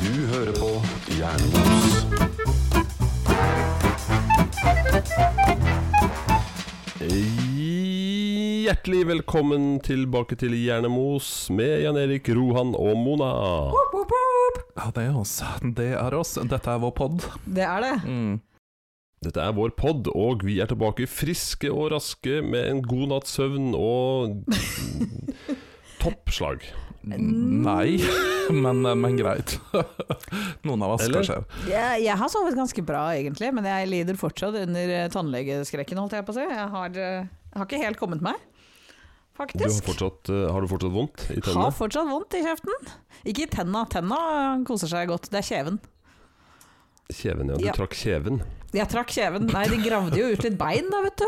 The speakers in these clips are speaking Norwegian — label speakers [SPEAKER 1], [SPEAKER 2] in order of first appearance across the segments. [SPEAKER 1] Du hører på Jernbos.
[SPEAKER 2] Hjertelig velkommen tilbake til Hjernemos med Jan Erik, Rohan og Mona.
[SPEAKER 3] Ja, det er oss. Det er oss. Dette er vår pod.
[SPEAKER 4] Det er det.
[SPEAKER 2] Dette er vår pod, og vi er tilbake friske og raske med en god natts søvn og toppslag.
[SPEAKER 3] Nei, men, men greit. Noen av oss
[SPEAKER 2] Eller?
[SPEAKER 3] skal skje.
[SPEAKER 4] Jeg, jeg har sovet ganske bra egentlig, men jeg lider fortsatt under eh, tannlegeskrekken, holdt jeg på å si. Jeg har, eh, har ikke helt kommet meg,
[SPEAKER 2] Du har,
[SPEAKER 4] faktisk.
[SPEAKER 2] fortsatt, eh, har du fortsatt vondt i
[SPEAKER 4] Har
[SPEAKER 2] tennene?
[SPEAKER 4] fortsatt vondt i kjeften. Ikke i tenna, tenna koser seg godt, det er kjeven.
[SPEAKER 2] Kjeven, ja. Du
[SPEAKER 4] Ja.
[SPEAKER 2] trakk kjeven.
[SPEAKER 4] Jeg trakk kjeven, nei de gravde jo ut litt bein da, vet du.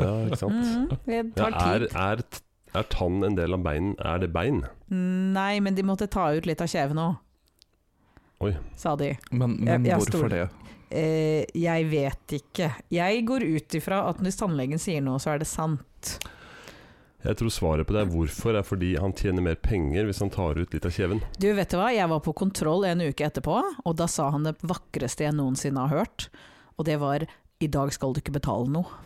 [SPEAKER 2] Ja, ikke sant.
[SPEAKER 4] Mhm, Det
[SPEAKER 2] Ja,
[SPEAKER 4] tar
[SPEAKER 2] er,
[SPEAKER 4] tid.
[SPEAKER 2] er, t- er tann en del av bein? Er det bein?
[SPEAKER 4] Nei, men de måtte ta ut litt av kjeven òg,
[SPEAKER 2] Oi.
[SPEAKER 4] sa de.
[SPEAKER 3] Men, men
[SPEAKER 4] Jeg- jeg
[SPEAKER 3] hvorfor
[SPEAKER 4] stoler.
[SPEAKER 3] det?
[SPEAKER 4] Eh, jeg vet ikke. Jeg går ut ifra at hvis tannlegen sier noe, så er det sant.
[SPEAKER 2] Jeg tror svaret på det er hvorfor, er fordi han tjener mer penger hvis han tar ut litt av kjeven.
[SPEAKER 4] Du, vet du hva? Jeg var på kontroll en uke etterpå, og da sa han det vakreste jeg noensinne har hørt. Og det var 'i dag skal du ikke betale noe'.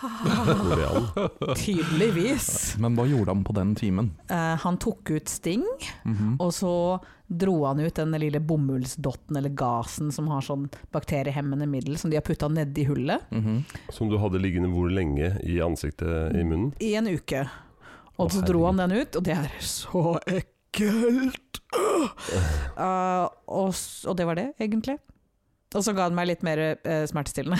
[SPEAKER 4] Ah.
[SPEAKER 2] Går det an?
[SPEAKER 4] Tydeligvis.
[SPEAKER 3] Men hva gjorde han på den timen?
[SPEAKER 4] Eh, han tok ut sting,
[SPEAKER 3] Mhm.
[SPEAKER 4] og så dro han ut den lille bomullsdotten eller gasen som har sånn bakteriehemmende middel som de har putta nedi hullet,
[SPEAKER 3] Mhm.
[SPEAKER 2] Som du hadde liggende hvor lenge i ansiktet, i munnen?
[SPEAKER 4] i en uke. Og
[SPEAKER 2] Å,
[SPEAKER 4] så dro han den ut, og det er så ekkelt! Eh, og, s- og det var det, egentlig. Og så ga han meg litt mer eh, smertestillende.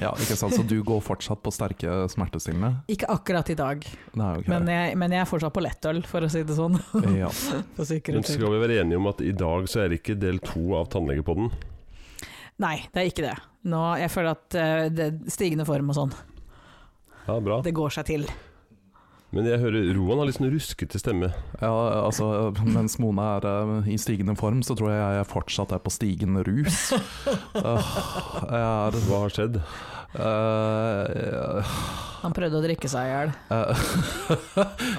[SPEAKER 3] Ja, ikke sant? Så du går fortsatt på sterke smertestillende?
[SPEAKER 4] Ikke akkurat i dag,
[SPEAKER 3] Det er jo
[SPEAKER 4] men
[SPEAKER 3] greit.
[SPEAKER 4] jeg, men jeg er fortsatt på lettøl, for å si det sånn.
[SPEAKER 3] Ja.
[SPEAKER 4] For
[SPEAKER 2] Men
[SPEAKER 4] sikkerhets skyld.
[SPEAKER 2] skal vi være enige om at i dag så er det ikke del to av Tannlegepodden?
[SPEAKER 4] Nei, det er ikke det. Nå, jeg føler at eh, det stigende form og sånn,
[SPEAKER 2] Ja, bra.
[SPEAKER 4] det går seg til.
[SPEAKER 2] Men jeg hører Roan har litt sånn ruskete stemme.
[SPEAKER 3] ja, altså mens Mona er eh, i stigende form, så tror jeg jeg fortsatt er på stigende rus. Åh, jeg er
[SPEAKER 2] Hva har skjedd?
[SPEAKER 3] eh,
[SPEAKER 4] Han prøvde å drikke seg i hjel.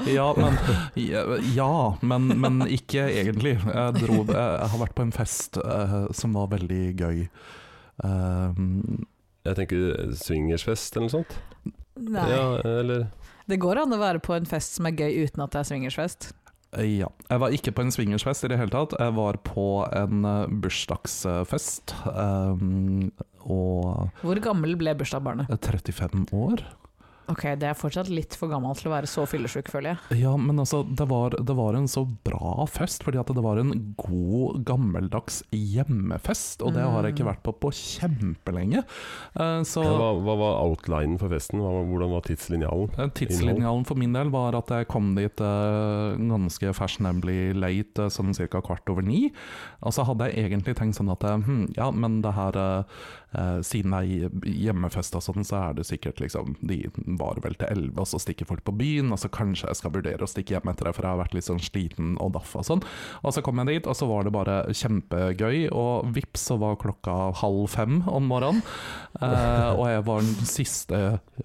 [SPEAKER 3] Eh, ja, men, ja men, men ikke egentlig. Jeg, dro, jeg har vært på en fest eh, som var veldig gøy. Eh,
[SPEAKER 2] Jeg tenker swingersfest eller noe sånt?
[SPEAKER 4] Nei.
[SPEAKER 2] Ja, eller
[SPEAKER 4] Det går an å være på en fest som er gøy uten at det er swingersfest.
[SPEAKER 3] ja. Jeg var ikke på en swingersfest i det hele tatt. Jeg var på en eh, bursdagsfest. eh, og
[SPEAKER 4] Hvor gammel ble bursdagsbarnet?
[SPEAKER 3] 35 år.
[SPEAKER 4] Ok, det er fortsatt litt for gammel til å være så fyllesyk, føler jeg.
[SPEAKER 3] Ja, men altså, det var, det var en så bra fest, fordi at det var en god, gammeldags hjemmefest, og det har jeg ikke vært på på kjempelenge. Eh, Så
[SPEAKER 2] ja, hva, hva var outlinen for festen? Hva, var- hvordan var tidslinjalen?
[SPEAKER 3] eh, tidslinjalen for min del var at jeg kom dit eh, ganske fashionably late, eh, sånn cirka kvart over ni. Og så hadde jeg egentlig tenkt sånn at eh, hm, ja, men det her eh, eh, Siden det er hjemmefest og sånn, så er det sikkert liksom De varer vel til elleve, og så stikker folk på byen, og så kanskje jeg skal vurdere å stikke hjem etter det, for jeg har vært litt sånn sliten og daff og sånn. Og så kom jeg dit, og så var det bare kjempegøy, og vips så var klokka halv fem om morgenen. Eh, og jeg var den siste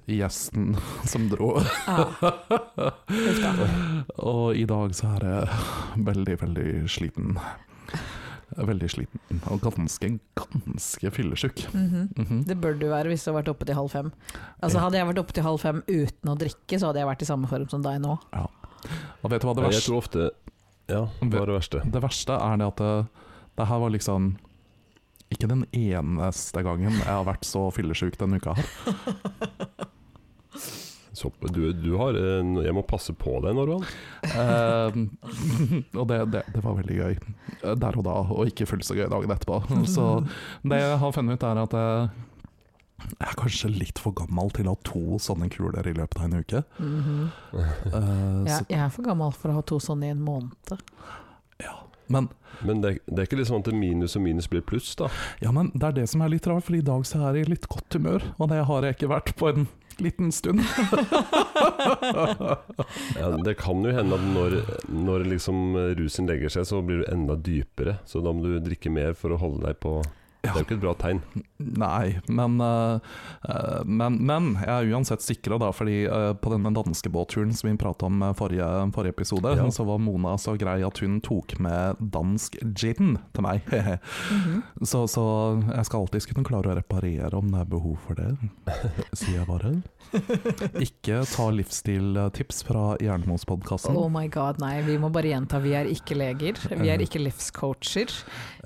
[SPEAKER 3] gjesten som dro.
[SPEAKER 4] Ah, Huff da.
[SPEAKER 3] Og i dag så er jeg veldig, veldig sliten. Veldig sliten og ganske, ganske fyllesyk.
[SPEAKER 4] Mhm.
[SPEAKER 3] Mhm.
[SPEAKER 4] Det bør du være hvis du har vært oppe til halv fem. Altså Hadde jeg vært oppe til halv fem uten å drikke, så hadde jeg vært i samme form som deg nå.
[SPEAKER 3] Og vet du hva
[SPEAKER 2] Ja, Jeg
[SPEAKER 3] det verste,
[SPEAKER 2] tror ofte Ja, hva var det verste?
[SPEAKER 3] det verste er det at det, det her var liksom ikke den eneste gangen jeg har vært så fyllesyk denne uka her.
[SPEAKER 2] Så, du, du har en, Jeg må passe på deg nå, Roan.
[SPEAKER 3] Eh, og det, det, det var veldig gøy eh, der og da, og ikke fullt så gøy dagen etterpå. Så det jeg har funnet ut, er at jeg, jeg er kanskje litt for gammel til å ha to sånne kuler i løpet av en uke.
[SPEAKER 4] Mhm.
[SPEAKER 3] Eh,
[SPEAKER 4] ja,
[SPEAKER 3] så,
[SPEAKER 4] jeg er for gammel for å ha to sånne i en måned.
[SPEAKER 3] men,
[SPEAKER 2] Men det, det er ikke litt sånn at minus og minus blir pluss, da?
[SPEAKER 3] ja, men det er det som er litt rart, for i dag så er jeg i litt godt humør, og det har jeg ikke vært på en liten stund.
[SPEAKER 2] Ja, det kan jo hende at når, når liksom rusen legger seg, så blir du enda dypere. Så da må du drikke mer for å holde deg på Det er jo ikke et bra tegn.
[SPEAKER 3] Nei, men, eh, eh, men, men jeg er uansett sikra, da, fordi eh, på denne danske båtturen som vi prata om eh, forrige, forrige episode,
[SPEAKER 2] Ja.
[SPEAKER 3] så var Mona så grei at hun tok med dansk gin til meg.
[SPEAKER 4] Mhm.
[SPEAKER 3] så, så jeg skal alltids kunne klare å reparere om det er behov for det, sier jeg bare. Ikke ta livsstiltips fra Jernemos-podkasten.
[SPEAKER 4] Oh my god, nei. Vi må bare gjenta. Vi er ikke leger. Vi er ikke livscoacher.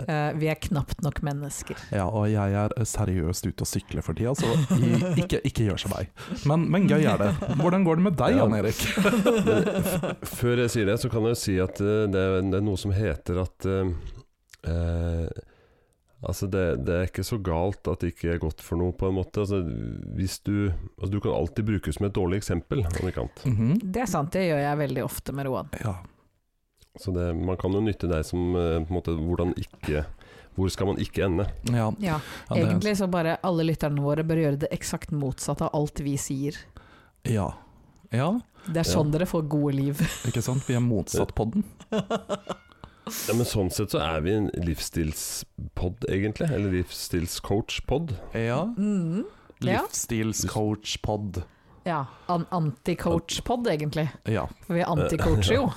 [SPEAKER 4] Eh, vi er knapt nok mennesker.
[SPEAKER 3] Ja, og jeg er seriøst ute og sykler for tida, så i- ikke, ikke gjør som meg. Men, men gøy er det. Hvordan går det med deg,
[SPEAKER 2] Ja.
[SPEAKER 3] Jan Erik?
[SPEAKER 2] Før jeg sier det, så kan jeg jo si at eh, det, er- det er noe som heter at eh, eh, Altså, det, det er ikke så galt at det ikke er godt for noe, på en måte. Altså, hvis du Altså, du kan alltid brukes som et dårlig eksempel, om ikke annet.
[SPEAKER 3] Mhm.
[SPEAKER 4] Det er sant, det gjør jeg veldig ofte med Roan.
[SPEAKER 3] Ja.
[SPEAKER 2] Så det, man kan jo nytte deg som eh, på en måte hvordan ikke Hvor skal man ikke ende?
[SPEAKER 3] Ja,
[SPEAKER 4] Ja,
[SPEAKER 3] ja, det,
[SPEAKER 4] Egentlig så bare alle lytterne våre bør gjøre det eksakt motsatte av alt vi sier.
[SPEAKER 3] ja. ja,
[SPEAKER 4] Det er sånn dere får gode liv.
[SPEAKER 3] ikke sant? Vi er motsatt på den.
[SPEAKER 2] Ja, men sånn sett så er vi en livsstilspod, egentlig. Eller livsstilscoach-pod.
[SPEAKER 3] Ja.
[SPEAKER 4] Mm. Ja.
[SPEAKER 3] Livsstilscoach-pod.
[SPEAKER 4] Ja. An Anti-coach-pod, egentlig.
[SPEAKER 3] Ja.
[SPEAKER 4] For vi er anti-coacher, jo.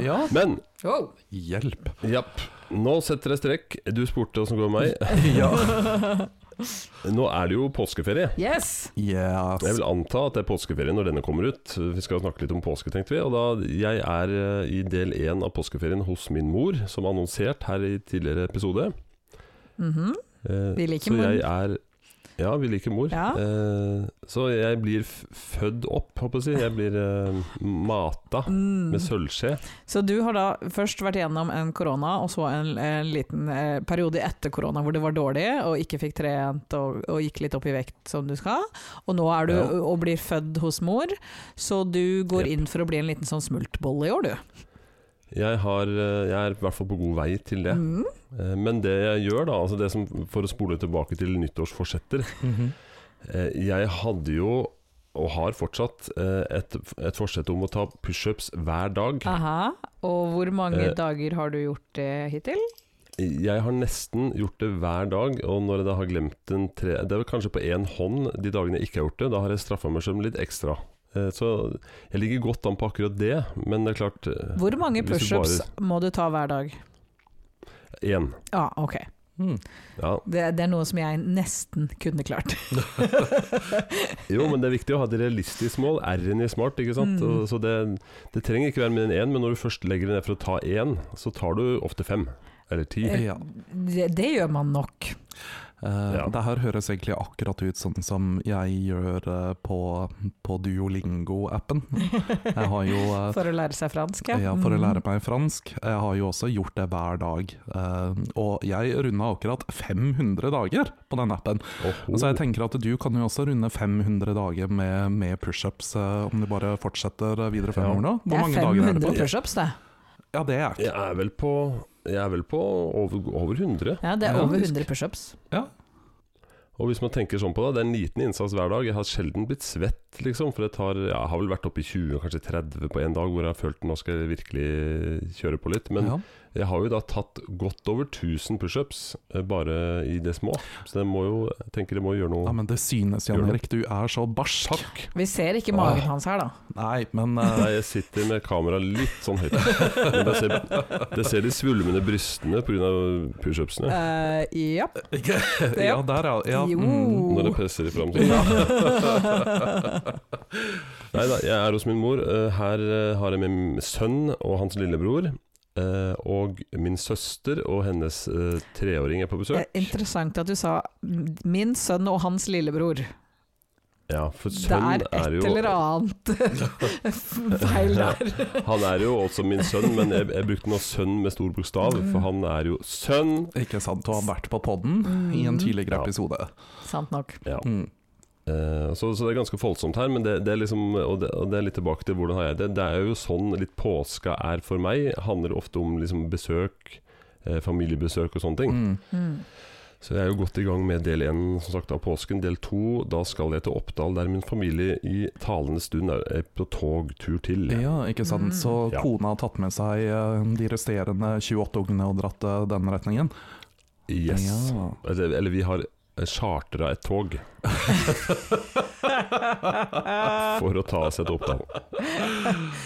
[SPEAKER 3] ja.
[SPEAKER 2] Men
[SPEAKER 4] Wow.
[SPEAKER 3] Hjelp.
[SPEAKER 2] japp, nå setter jeg strekk. Du spurte åssen det går med meg. Nå er det jo påskeferie.
[SPEAKER 4] Yes!
[SPEAKER 3] Yes.
[SPEAKER 2] Jeg vil anta at det er påskeferie når denne kommer ut. Vi skal jo snakke litt om påske, tenkte vi. Og da jeg er eh, i del én av påskeferien hos min mor, som annonsert her i tidligere episode.
[SPEAKER 4] Mhm.
[SPEAKER 2] Eh,
[SPEAKER 4] Vi liker
[SPEAKER 2] så
[SPEAKER 4] mor.
[SPEAKER 2] Jeg er, ja, vi liker mor.
[SPEAKER 4] Ja.
[SPEAKER 2] Eh, så jeg blir f fødd opp, håper jeg å si. Jeg blir eh, mata
[SPEAKER 4] Mm.
[SPEAKER 2] med sølvskje.
[SPEAKER 4] Så du har da først vært gjennom en korona, og så en, en liten eh, periode etter korona hvor det var dårlig, og ikke fikk trent og, og gikk litt opp i vekt som du skal. Og nå er du
[SPEAKER 2] Ja.
[SPEAKER 4] og blir født hos mor, så du går
[SPEAKER 2] Jep.
[SPEAKER 4] inn for å bli en liten sånn smultbolle i år, du.
[SPEAKER 2] Jeg, har, eh, jeg er i hvert fall på god vei til det.
[SPEAKER 4] Mm.
[SPEAKER 2] Eh, Men det jeg gjør, da altså det som, For å spole tilbake til nyttårsforsetter
[SPEAKER 3] Mhm.
[SPEAKER 2] eh, Jeg hadde jo, og har fortsatt, eh, et, et forsett om å ta pushups hver dag.
[SPEAKER 4] Aha. Og hvor mange
[SPEAKER 2] Eh.
[SPEAKER 4] dager har du gjort det hittil?
[SPEAKER 2] Jeg har nesten gjort det hver dag, og når jeg da har glemt en tre Det er vel kanskje på én hånd de dagene jeg ikke har gjort det. Da har jeg straffa meg selv litt ekstra. Eh, Så jeg ligger godt an på akkurat det, men det er klart eh,
[SPEAKER 4] Hvor mange
[SPEAKER 2] hvis du
[SPEAKER 4] pushups må du ta hver dag?
[SPEAKER 2] bare- Én.
[SPEAKER 4] Ja, ok.
[SPEAKER 3] Mm.
[SPEAKER 2] Ja.
[SPEAKER 4] Det, det er noe som jeg nesten kunne klart.
[SPEAKER 2] Jo, men det er viktig å ha et realistisk mål. R-en i smart, ikke sant.
[SPEAKER 4] Mm.
[SPEAKER 2] Og- Så det, det trenger ikke være mer enn én, men når du først legger deg ned for å ta én, så tar du ofte fem. Eller ti.
[SPEAKER 3] Eh, Ja.
[SPEAKER 4] Det, det gjør man nok.
[SPEAKER 3] Eh,
[SPEAKER 2] Ja.
[SPEAKER 3] Det her høres egentlig akkurat ut sånn som jeg gjør eh, på, på Duolingo-appen. Jeg har jo eh,
[SPEAKER 4] For å lære seg fransk,
[SPEAKER 3] Ja, Mm. for å lære meg fransk. Jeg har jo også gjort det hver dag. Eh, og jeg runda akkurat 500 dager på den appen.
[SPEAKER 2] Oho.
[SPEAKER 4] altså,
[SPEAKER 3] Så Altså, jeg tenker at du kan jo også runde 500 dager med, med pushups, eh, om du bare fortsetter videre
[SPEAKER 2] Ja.
[SPEAKER 3] fremover nå.
[SPEAKER 4] Det
[SPEAKER 3] Hvor
[SPEAKER 4] er
[SPEAKER 3] mange dager er
[SPEAKER 4] 500
[SPEAKER 3] det på?
[SPEAKER 4] pushups, det.
[SPEAKER 3] Ja, det er
[SPEAKER 2] jeg
[SPEAKER 3] ikke
[SPEAKER 2] er vel på, jeg er vel på over, over 100.
[SPEAKER 4] Ja, det er
[SPEAKER 3] Ja,
[SPEAKER 4] over
[SPEAKER 2] faktisk.
[SPEAKER 4] 100 pushups.
[SPEAKER 2] Og hvis man tenker sånn på det, det er en liten innsats hver dag. Jeg har sjelden blitt svett, liksom. For jeg, tar, jeg har vel vært oppe i 20, kanskje 30 på en dag hvor jeg har følt nå skal jeg virkelig kjøre på litt. Men
[SPEAKER 3] ja.
[SPEAKER 2] jeg har jo da tatt godt over 1000 pushups eh, bare i det små. Så det må jo, jeg tenker det må gjøre noe
[SPEAKER 3] ja, men det synes, Jan Erik. Du er så barsk.
[SPEAKER 2] Takk!
[SPEAKER 4] Vi ser ikke magen hans her, da.
[SPEAKER 3] Nei, men eh,
[SPEAKER 2] Nei, jeg sitter med kameraet litt sånn høyt. Men Det ser, det ser de svulmende brystene pga. pushupsene
[SPEAKER 4] Eh, ja.
[SPEAKER 3] Ja, der, ja. ja. mm.
[SPEAKER 4] Jo.
[SPEAKER 2] når jeg presser de fram. Sånn. Nei da, jeg er hos min mor. Eh, Her eh, har jeg min sønn og hans lillebror. eh, Og min søster og hennes eh, treåring er på
[SPEAKER 4] Det
[SPEAKER 2] besøk.
[SPEAKER 4] er interessant at du sa mm, 'min sønn og hans lillebror'.
[SPEAKER 2] Ja, for
[SPEAKER 4] Det
[SPEAKER 2] sønn
[SPEAKER 4] er et
[SPEAKER 2] er jo
[SPEAKER 4] eller annet feil der.
[SPEAKER 2] Han er jo også min sønn, men jeg, jeg brukte nå 'sønn' med stor bokstav,
[SPEAKER 4] Mm.
[SPEAKER 2] for han er jo sønn.
[SPEAKER 3] Ikke sant, du har vært på podden i
[SPEAKER 4] Mm.
[SPEAKER 3] en tidligere
[SPEAKER 2] Ja.
[SPEAKER 3] episode.
[SPEAKER 4] Sant nok.
[SPEAKER 3] Mm.
[SPEAKER 2] Eh, Så, så det er ganske voldsomt her, men det, det er liksom, og, det, og det er litt tilbake til hvordan har jeg det. Det er jo sånn litt påska er for meg. Handler ofte om liksom besøk, eh, familiebesøk og sånne ting.
[SPEAKER 3] Mm.
[SPEAKER 4] Mm.
[SPEAKER 2] Så jeg er jo godt i gang med del én som sagt, av påsken. Del to, da skal jeg til Oppdal, der min familie i talende stund er er på togtur til.
[SPEAKER 3] Ja, ikke sant.
[SPEAKER 4] Mm.
[SPEAKER 3] Så
[SPEAKER 2] Ja.
[SPEAKER 3] kona har tatt med seg eh, de resterende 28 ungene og dratt eh, den retningen.
[SPEAKER 2] Yes.
[SPEAKER 3] Ja.
[SPEAKER 2] Eller, eller vi har chartra et tog for å ta oss et oppdrag.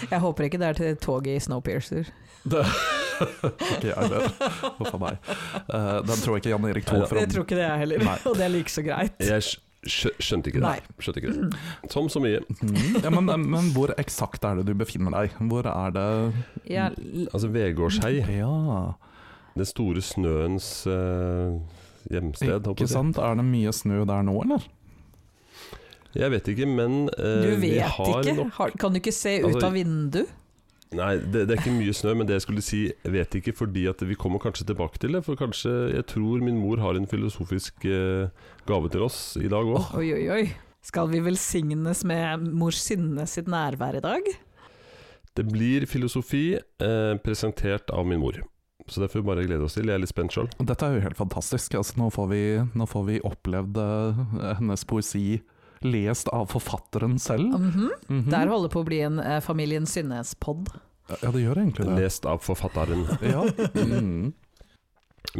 [SPEAKER 4] Jeg håper ikke det er til toget i Snowpiercer.
[SPEAKER 3] Det, ikke jeg heller. Huff a meg. Eh, den tror jeg ikke Jan Erik Thor
[SPEAKER 2] Nei,
[SPEAKER 3] fra
[SPEAKER 4] Jeg tror ikke det er heller,
[SPEAKER 3] Nei.
[SPEAKER 4] og det er like så greit.
[SPEAKER 2] Jeg skj- skjø- skjønte ikke
[SPEAKER 4] Nei.
[SPEAKER 2] det. Skjønte ikke det. Som så mye.
[SPEAKER 3] Mhm. ja, men, men hvor eksakt er det du befinner deg? Hvor er det
[SPEAKER 4] Ja,
[SPEAKER 2] Altså Vegårshei,
[SPEAKER 3] Ja,
[SPEAKER 2] den store snøens eh, hjemsted, håper
[SPEAKER 3] ikke
[SPEAKER 2] jeg. å si.
[SPEAKER 3] sant? Er det mye snø der nå, eller?
[SPEAKER 2] Jeg vet ikke, men eh,
[SPEAKER 4] du
[SPEAKER 2] vi
[SPEAKER 4] vet
[SPEAKER 2] har
[SPEAKER 4] ikke.
[SPEAKER 2] nok
[SPEAKER 4] Har, kan du ikke se ut
[SPEAKER 2] Altså,
[SPEAKER 4] av vindu?
[SPEAKER 2] Nei, det, det er ikke mye snø, men det jeg skulle si, jeg vet ikke, fordi at vi kommer kanskje tilbake til det. For kanskje Jeg tror min mor har en filosofisk eh, gave til oss i dag òg.
[SPEAKER 4] Oi, oi, oi. Skal vi velsignes med mor Synne sitt nærvær i dag?
[SPEAKER 2] Det blir filosofi eh, presentert av min mor. Så det får vi bare glede oss til. Jeg er litt spent sjøl.
[SPEAKER 3] Dette er jo helt fantastisk. Altså, nå, får vi, nå får vi opplevd eh, hennes poesi lest av forfatteren selv.
[SPEAKER 4] Mhm.
[SPEAKER 3] Mhm.
[SPEAKER 4] Der holder på å bli en eh, Familien Synnes-pod.
[SPEAKER 3] Ja, det gjør egentlig det.
[SPEAKER 2] Lest av forfatteren.
[SPEAKER 3] Ja. Mhm.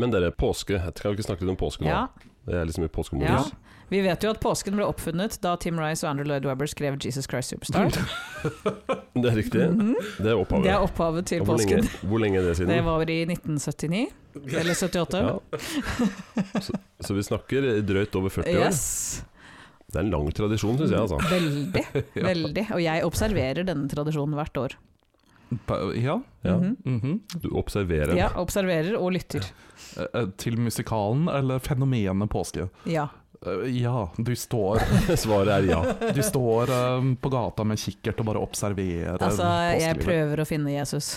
[SPEAKER 2] Men dere, påske. Jeg Skal vi ikke snakke litt om påske nå?
[SPEAKER 4] Ja,
[SPEAKER 2] Jeg er liksom i
[SPEAKER 4] ja.
[SPEAKER 2] påskemodus.
[SPEAKER 4] Vi vet jo at påsken ble oppfunnet da Tim Rice og Andrew Lloyd Webber skrev 'Jesus Christ Superstar'.
[SPEAKER 2] Det er riktig.
[SPEAKER 4] Mhm.
[SPEAKER 2] Det er opphavet.
[SPEAKER 4] Det er opphavet til
[SPEAKER 2] Og hvor, lenge,
[SPEAKER 4] påsken.
[SPEAKER 2] hvor lenge er det siden?
[SPEAKER 4] Det var i 1979. Eller 78.
[SPEAKER 2] ja. så, så vi snakker drøyt over 40 år.
[SPEAKER 4] Yes.
[SPEAKER 2] Det er en lang tradisjon, syns jeg. altså
[SPEAKER 4] Veldig. veldig. Og jeg observerer denne tradisjonen hvert år.
[SPEAKER 3] Pa- ja.
[SPEAKER 2] Ja.
[SPEAKER 4] Mhm.
[SPEAKER 3] mhm.
[SPEAKER 2] Du observerer.
[SPEAKER 4] Ja, observerer og lytter.
[SPEAKER 3] Eh, eh, Til musikalen eller fenomenet påske?
[SPEAKER 4] Ja.
[SPEAKER 3] Eh, ja, du står,
[SPEAKER 2] Svaret er ja.
[SPEAKER 3] du står eh, på gata med kikkert og bare observerer
[SPEAKER 4] Altså, jeg
[SPEAKER 2] liksom.
[SPEAKER 3] påskelivet.
[SPEAKER 4] prøver å finne Jesus.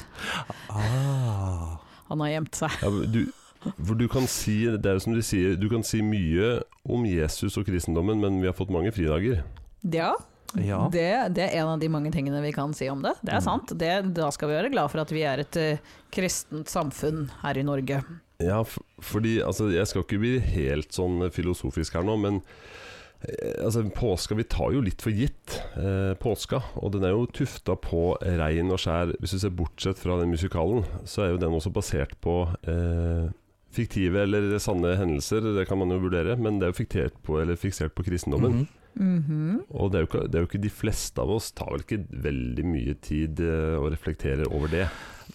[SPEAKER 3] Ah.
[SPEAKER 4] Han har gjemt seg.
[SPEAKER 2] ja men du, for du kan si Det er jo som de sier, du kan si mye om Jesus og kristendommen, men vi har fått mange fridager.
[SPEAKER 4] Ja,
[SPEAKER 3] Ja.
[SPEAKER 4] Det, det er en av de mange tingene vi kan si om det. Det er
[SPEAKER 3] Mm.
[SPEAKER 4] sant. Det, da skal vi være glad for at vi er et eh, kristent samfunn her i Norge.
[SPEAKER 2] Ja, f fordi altså, Jeg skal ikke bli helt sånn filosofisk her nå, men eh, altså, påska Vi tar jo litt for gitt eh, påska, og den er jo tufta på rein og skjær. Hvis du ser bortsett fra den musikalen, så er jo den også basert på eh, fiktive eller sanne hendelser. Det kan man jo vurdere, men det er jo fiktert på, eller fiksert på kristendommen.
[SPEAKER 3] Mhm.
[SPEAKER 2] Og det er, jo ikke, det er jo ikke de fleste av oss tar vel ikke veldig mye tid eh, å reflektere over det.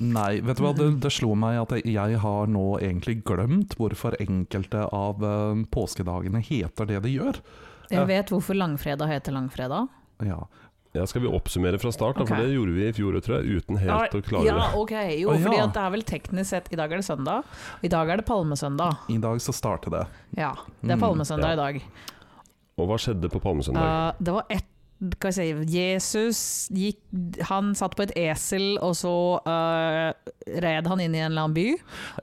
[SPEAKER 3] Nei, vet du hva, det, det slo meg at jeg har nå egentlig glemt hvorfor enkelte av eh, påskedagene heter det de gjør.
[SPEAKER 4] Jeg
[SPEAKER 3] Ja.
[SPEAKER 4] vet hvorfor langfredag heter langfredag.
[SPEAKER 3] Ja.
[SPEAKER 2] Ja, skal vi oppsummere fra start, da,
[SPEAKER 4] Ok.
[SPEAKER 2] for det gjorde vi i fjor, tror jeg, uten helt å klare
[SPEAKER 4] Ah, ja, ok. Jo,
[SPEAKER 3] Å, ja.
[SPEAKER 4] fordi at det er vel teknisk sett I dag er det søndag. I dag er det palmesøndag.
[SPEAKER 3] I dag så starter det.
[SPEAKER 4] Ja, det er
[SPEAKER 3] Mm,
[SPEAKER 2] ja.
[SPEAKER 4] palmesøndag i dag.
[SPEAKER 2] Og hva skjedde på Palmesøndag?
[SPEAKER 4] Eh, det var ett hva skal jeg si, Jesus gikk, han satt på et esel, og så eh, red han inn i en eller annen by.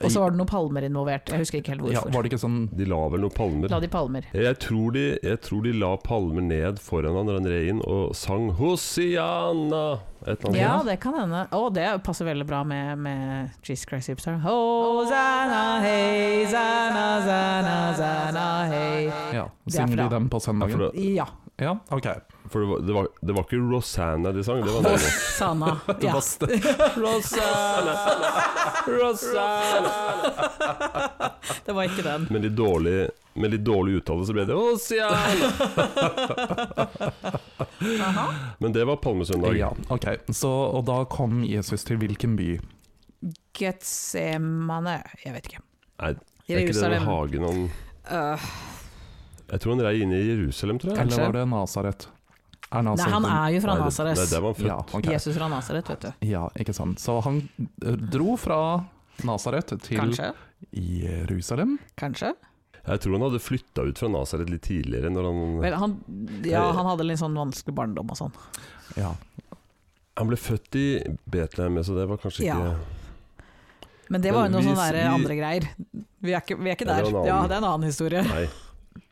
[SPEAKER 4] Og så var det noen palmer involvert. Jeg husker ikke helt
[SPEAKER 3] ja,
[SPEAKER 4] hvorfor.
[SPEAKER 3] Var det ikke sånn
[SPEAKER 2] De la vel noen palmer?
[SPEAKER 4] La de palmer.
[SPEAKER 2] Jeg tror de, jeg tror de la palmer ned foran han når han red inn og sang 'Hosianna'. Et eller annet.
[SPEAKER 4] Ja,
[SPEAKER 2] sånt.
[SPEAKER 4] det kan hende. Å, det passer veldig bra med, med Jesus Christ Superstar. Hosanna, hei, sanna, sanna, sanna, hei.
[SPEAKER 3] Ja,
[SPEAKER 4] Det er
[SPEAKER 3] Synger de
[SPEAKER 4] fra-
[SPEAKER 3] dem på
[SPEAKER 2] Ja, for
[SPEAKER 3] søndagen?
[SPEAKER 2] det,
[SPEAKER 4] Ja.
[SPEAKER 3] Ja, ok.
[SPEAKER 2] for det, var, det, var, det var ikke Rosanna de sang, det var noe.
[SPEAKER 4] Hosanna.
[SPEAKER 3] Det
[SPEAKER 4] Ja.
[SPEAKER 3] var st-
[SPEAKER 2] Rosanna, Rosanna.
[SPEAKER 4] Det var ikke den.
[SPEAKER 2] Med litt dårlig, med litt dårlig uttale så ble det 'Hosianna'. Men det var Palmesøndag.
[SPEAKER 3] ja, ok. Så, og da kom Jesus til hvilken by?
[SPEAKER 4] Getsemane Jeg vet ikke.
[SPEAKER 2] Nei, det er ikke det den
[SPEAKER 4] Jerusalem.
[SPEAKER 2] hagen han
[SPEAKER 4] Øh,
[SPEAKER 2] Jeg tror han rei inn i Jerusalem, tror jeg.
[SPEAKER 4] Kanskje.
[SPEAKER 3] Eller var det Nasaret? Er
[SPEAKER 4] nei, han
[SPEAKER 3] en-
[SPEAKER 4] er jo fra
[SPEAKER 2] Nei, det-
[SPEAKER 4] Nasaret.
[SPEAKER 2] Nei, der var han født.
[SPEAKER 3] ja, ok.
[SPEAKER 4] Jesus fra Nasaret, vet du.
[SPEAKER 3] ja, ikke sant. Så han eh, dro fra Nasaret til
[SPEAKER 4] Kanskje.
[SPEAKER 3] Jerusalem.
[SPEAKER 4] Kanskje.
[SPEAKER 2] Jeg tror han hadde flytta ut fra Nasaret litt tidligere. Når han,
[SPEAKER 4] Vel, han, ja, han hadde litt sånn vanskelig barndom og sånn.
[SPEAKER 3] Ja.
[SPEAKER 2] han ble født i Betlehem, så det var kanskje
[SPEAKER 4] Ja,
[SPEAKER 2] ikke
[SPEAKER 4] Men det var jo
[SPEAKER 2] Men vi-
[SPEAKER 4] noen sånne der
[SPEAKER 2] vi-
[SPEAKER 4] andre greier. Vi er ikke, vi er ikke
[SPEAKER 2] Ja, det var
[SPEAKER 4] der.
[SPEAKER 2] en annen-
[SPEAKER 4] Ja, det er en annen historie.
[SPEAKER 2] Nei.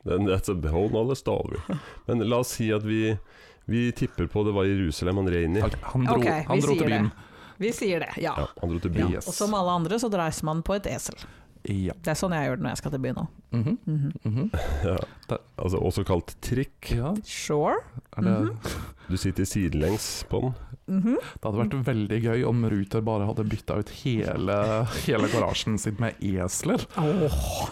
[SPEAKER 2] Den, that's a whole other story. Men la oss si at vi, vi tipper på det var Jerusalem han red inn i.
[SPEAKER 3] Ok, Han dro,
[SPEAKER 4] Ok, vi
[SPEAKER 3] han dro til
[SPEAKER 4] sier
[SPEAKER 3] byen.
[SPEAKER 4] Vi sier det, ja.
[SPEAKER 2] Ja, han dro til
[SPEAKER 3] Ja.
[SPEAKER 2] byen.
[SPEAKER 3] Yes.
[SPEAKER 4] Og som alle andre så dreiser man på et esel.
[SPEAKER 3] Ja.
[SPEAKER 4] Det er sånn jeg gjør det når jeg skal til byen òg.
[SPEAKER 3] Mhm,
[SPEAKER 4] Mhm.
[SPEAKER 3] mhm.
[SPEAKER 2] Ja. Altså, også kalt trikk.
[SPEAKER 3] ja.
[SPEAKER 4] Sure.
[SPEAKER 3] Er det
[SPEAKER 2] Du sitter sidelengs på den.
[SPEAKER 4] Mhm.
[SPEAKER 3] Det hadde vært veldig gøy om Ruter bare hadde bytta ut hele, hele garasjen sin med esler.
[SPEAKER 4] Åh.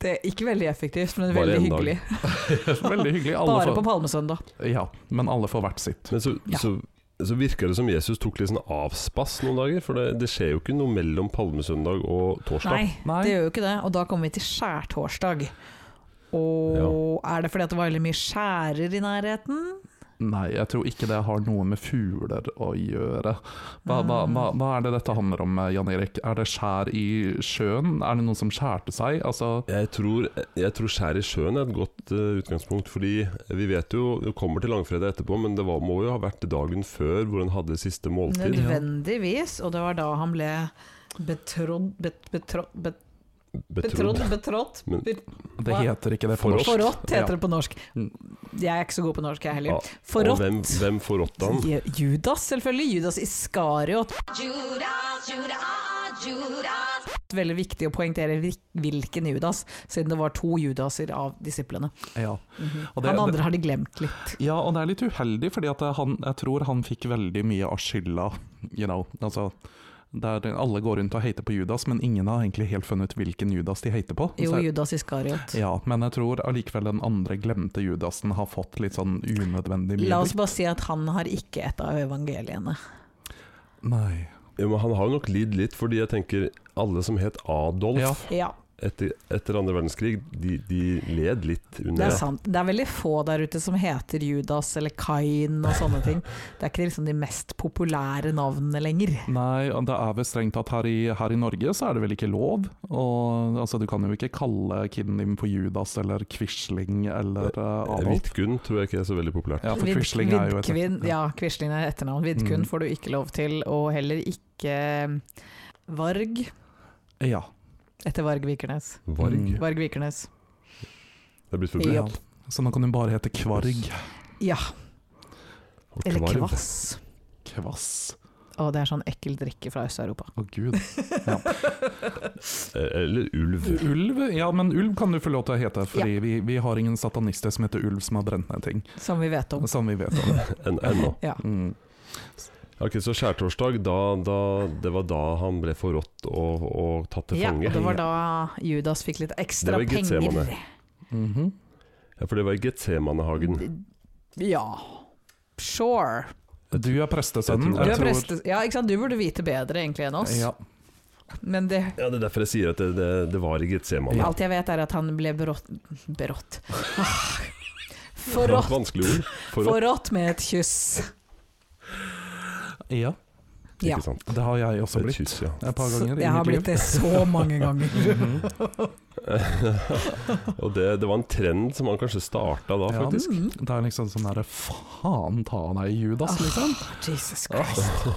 [SPEAKER 4] Det er ikke veldig effektivt, men
[SPEAKER 2] Bare
[SPEAKER 4] veldig
[SPEAKER 2] en dag.
[SPEAKER 4] hyggelig.
[SPEAKER 3] Veldig hyggelig. Alle
[SPEAKER 4] Bare på
[SPEAKER 3] får,
[SPEAKER 4] Palmesøndag.
[SPEAKER 3] ja, men alle får hvert sitt.
[SPEAKER 2] Men så,
[SPEAKER 4] Ja.
[SPEAKER 2] så, så virker det som Jesus tok litt sånn avspass noen dager, for det, det skjer jo ikke noe mellom palmesøndag og torsdag.
[SPEAKER 4] Nei,
[SPEAKER 3] Nei.
[SPEAKER 4] det gjør jo ikke det. Og da kommer vi til skjærtorsdag. Og er det fordi at det var veldig mye skjærer i nærheten?
[SPEAKER 3] Nei, jeg tror ikke det har noe med fugler å gjøre. Hva, hva,
[SPEAKER 4] Ah.
[SPEAKER 3] hva, hva er det dette handler om, eh, Jan Erik? Er det skjær i sjøen? Er det noen som skjærte seg? Altså,
[SPEAKER 2] Jeg tror, jeg tror skjær i sjøen er et godt eh, utgangspunkt, fordi vi vet jo Vi kommer til langfredag etterpå, men det var, må jo ha vært dagen før hvor han hadde siste måltid.
[SPEAKER 4] Nødvendigvis. Og det var da han ble betrodd bet, betrodd bet,
[SPEAKER 2] Betrodd.
[SPEAKER 4] Betrodd, betrådt
[SPEAKER 2] Men-
[SPEAKER 4] bet-
[SPEAKER 3] det
[SPEAKER 4] Hva?
[SPEAKER 3] heter ikke det på
[SPEAKER 2] Forrådt.
[SPEAKER 3] norsk.
[SPEAKER 4] Forrådt heter
[SPEAKER 3] Ja.
[SPEAKER 4] det på norsk.
[SPEAKER 3] Mm.
[SPEAKER 4] Jeg er ikke så god på norsk, jeg
[SPEAKER 2] Ja,
[SPEAKER 4] heller.
[SPEAKER 2] Og hvem,
[SPEAKER 4] Forrådt.
[SPEAKER 2] hvem forrådte han?
[SPEAKER 4] Je- Judas, selvfølgelig. Judas Iskariot.
[SPEAKER 5] Judas, Judas, Judas.
[SPEAKER 4] Veldig viktig å poengtere hvil- hvilken Judas, siden det var to Judaser av disiplene.
[SPEAKER 3] Ja.
[SPEAKER 4] Mhm.
[SPEAKER 3] Og det-
[SPEAKER 4] Han andre har de glemt litt.
[SPEAKER 3] Ja, og det er litt uheldig, fordi at han, jeg tror han fikk veldig mye av skylda. You know, altså, der alle går rundt og hater på Judas, men ingen har egentlig helt funnet ut hvilken Judas de hater på.
[SPEAKER 4] Jo,
[SPEAKER 3] Så-
[SPEAKER 4] Judas Iskariot.
[SPEAKER 3] ja, men jeg tror allikevel den andre glemte Judasen har fått litt sånn unødvendig mye
[SPEAKER 4] La oss
[SPEAKER 3] dritt.
[SPEAKER 4] bare si at han har ikke et av evangeliene.
[SPEAKER 3] Nei.
[SPEAKER 2] Ja, men han har jo nok lidd litt, fordi jeg tenker alle som het Adolf
[SPEAKER 3] Ja.
[SPEAKER 4] Ja,
[SPEAKER 2] etter, etter andre verdenskrig, de, de led litt
[SPEAKER 4] det er
[SPEAKER 2] under det.
[SPEAKER 4] sant. Det er veldig få der ute som heter Judas eller Kain og sånne ting. Det er ikke liksom de mest populære navnene lenger.
[SPEAKER 3] Nei, og det er vel strengt tatt her i, her i Norge så er det vel ikke lov. Og, altså, du kan jo ikke kalle kiden din for Judas eller Quisling eller uh, Adolf.
[SPEAKER 2] Vidkun tror jeg ikke er så veldig populært.
[SPEAKER 3] Ja, for
[SPEAKER 4] Vid-
[SPEAKER 3] Quisling er jo et
[SPEAKER 4] Vidkvin- ja, Quisling er etternavn. Vidkun
[SPEAKER 3] Mm.
[SPEAKER 4] får du ikke lov til, og heller ikke mm, Varg
[SPEAKER 3] Ja.
[SPEAKER 4] etter Varg Vikernes.
[SPEAKER 2] Varg.
[SPEAKER 3] Mm.
[SPEAKER 4] Varg Vikernes.
[SPEAKER 2] Det er blitt
[SPEAKER 4] Ja.
[SPEAKER 2] forbudt.
[SPEAKER 3] ja. Så nå kan hun bare hete Kvarg.
[SPEAKER 4] Ja,
[SPEAKER 2] Og
[SPEAKER 4] eller
[SPEAKER 2] kvarv.
[SPEAKER 4] Kvass.
[SPEAKER 3] Kvass.
[SPEAKER 4] Å, det er sånn ekkel drikke fra Øst-Europa.
[SPEAKER 3] Å gud.
[SPEAKER 2] Eh, Eller ulv.
[SPEAKER 3] Ulv? Ja, men ulv kan du få lov til å hete, fordi vi, vi har ingen satanister som heter ulv som har brent ned ting,
[SPEAKER 4] Som vi vet om.
[SPEAKER 3] som vi vet om.
[SPEAKER 2] En, ennå.
[SPEAKER 3] Mm.
[SPEAKER 2] Ok, Så skjærtorsdag, da, da, det var da han ble forrådt og, og tatt til
[SPEAKER 4] Ja, og
[SPEAKER 2] fange?
[SPEAKER 4] det var da Judas fikk litt ekstra
[SPEAKER 2] Det var i Getsemane.
[SPEAKER 4] penger.
[SPEAKER 3] Mhm.
[SPEAKER 2] Ja, For det var i Getsemanehagen.
[SPEAKER 4] Ja. Sure.
[SPEAKER 3] Du er prestesønnen.
[SPEAKER 2] Jeg tror-
[SPEAKER 4] Du, er
[SPEAKER 3] jeg tror-
[SPEAKER 4] preste, ja, ikke sant? du burde vite bedre egentlig enn oss,
[SPEAKER 3] Ja.
[SPEAKER 4] men det,
[SPEAKER 2] Ja, Det er derfor jeg sier at det, det, det var i Getsemane.
[SPEAKER 4] alt jeg vet er at han ble berått Berått. Ah.
[SPEAKER 2] Det var et
[SPEAKER 4] Forrådt
[SPEAKER 2] Vanskelig ord. Forrådt,
[SPEAKER 4] forrådt med et kyss.
[SPEAKER 3] ja.
[SPEAKER 4] Ja.
[SPEAKER 2] ikke sant.
[SPEAKER 3] Det har jeg også
[SPEAKER 2] Et
[SPEAKER 3] blitt.
[SPEAKER 2] kyss, ja.
[SPEAKER 3] Et par ganger
[SPEAKER 4] Jeg
[SPEAKER 3] i
[SPEAKER 4] har
[SPEAKER 3] mitt Mhm.
[SPEAKER 4] blitt
[SPEAKER 3] liv.
[SPEAKER 4] det så mange ganger.
[SPEAKER 2] Og det, det var en trend som han kanskje starta da,
[SPEAKER 3] Ja.
[SPEAKER 2] faktisk.
[SPEAKER 4] Mm.
[SPEAKER 3] Det er liksom sånn derre faen ta
[SPEAKER 4] Ah.
[SPEAKER 3] deg, Judas, liksom.
[SPEAKER 4] Jesus Christ.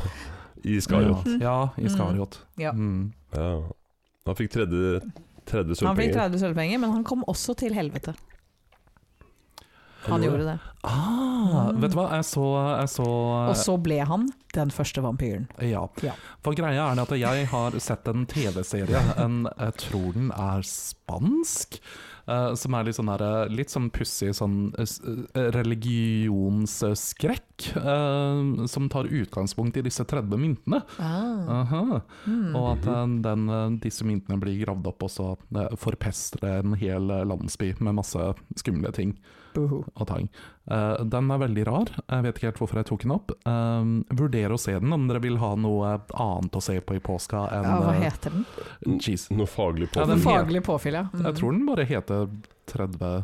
[SPEAKER 2] I Skariot.
[SPEAKER 3] Ja, Iskariot.
[SPEAKER 4] Ja.
[SPEAKER 3] Mm.
[SPEAKER 2] Ja. Han fikk 30, 30
[SPEAKER 4] Han fikk
[SPEAKER 2] sølvpenger.
[SPEAKER 4] 30 sølvpenger, men han kom også til helvete. Han
[SPEAKER 2] Han gjorde
[SPEAKER 4] gjorde det.
[SPEAKER 3] Ah, vet du hva, jeg så, jeg så eh,
[SPEAKER 4] Og så ble han den første vampyren.
[SPEAKER 3] Ja.
[SPEAKER 4] Ja.
[SPEAKER 3] For greia er det at jeg har sett en TV-serie, en jeg tror den er spansk, eh, som er litt sånn der, eh, litt sånn pussig sånn eh, s- eh, religionsskrekk, eh, som tar utgangspunkt i disse 30 myntene.
[SPEAKER 4] Ah.
[SPEAKER 3] Aha.
[SPEAKER 4] Mm.
[SPEAKER 3] Og at eh, den, eh, disse myntene blir gravd opp og så eh, forpestre en hel eh, landsby med masse skumle ting
[SPEAKER 4] Buhu.
[SPEAKER 3] og tang. Eh, den er veldig rar, jeg vet ikke helt hvorfor jeg tok den opp. Eh, vurder å se den om dere vil ha noe annet å se på i påska enn
[SPEAKER 4] Ja, hva
[SPEAKER 3] eh,
[SPEAKER 4] heter den?
[SPEAKER 3] Jeez.
[SPEAKER 2] Noe faglig på
[SPEAKER 3] Ja,
[SPEAKER 2] det.
[SPEAKER 3] den-
[SPEAKER 4] Faglig påfyll, ja. Mm.
[SPEAKER 3] Jeg tror den bare heter 30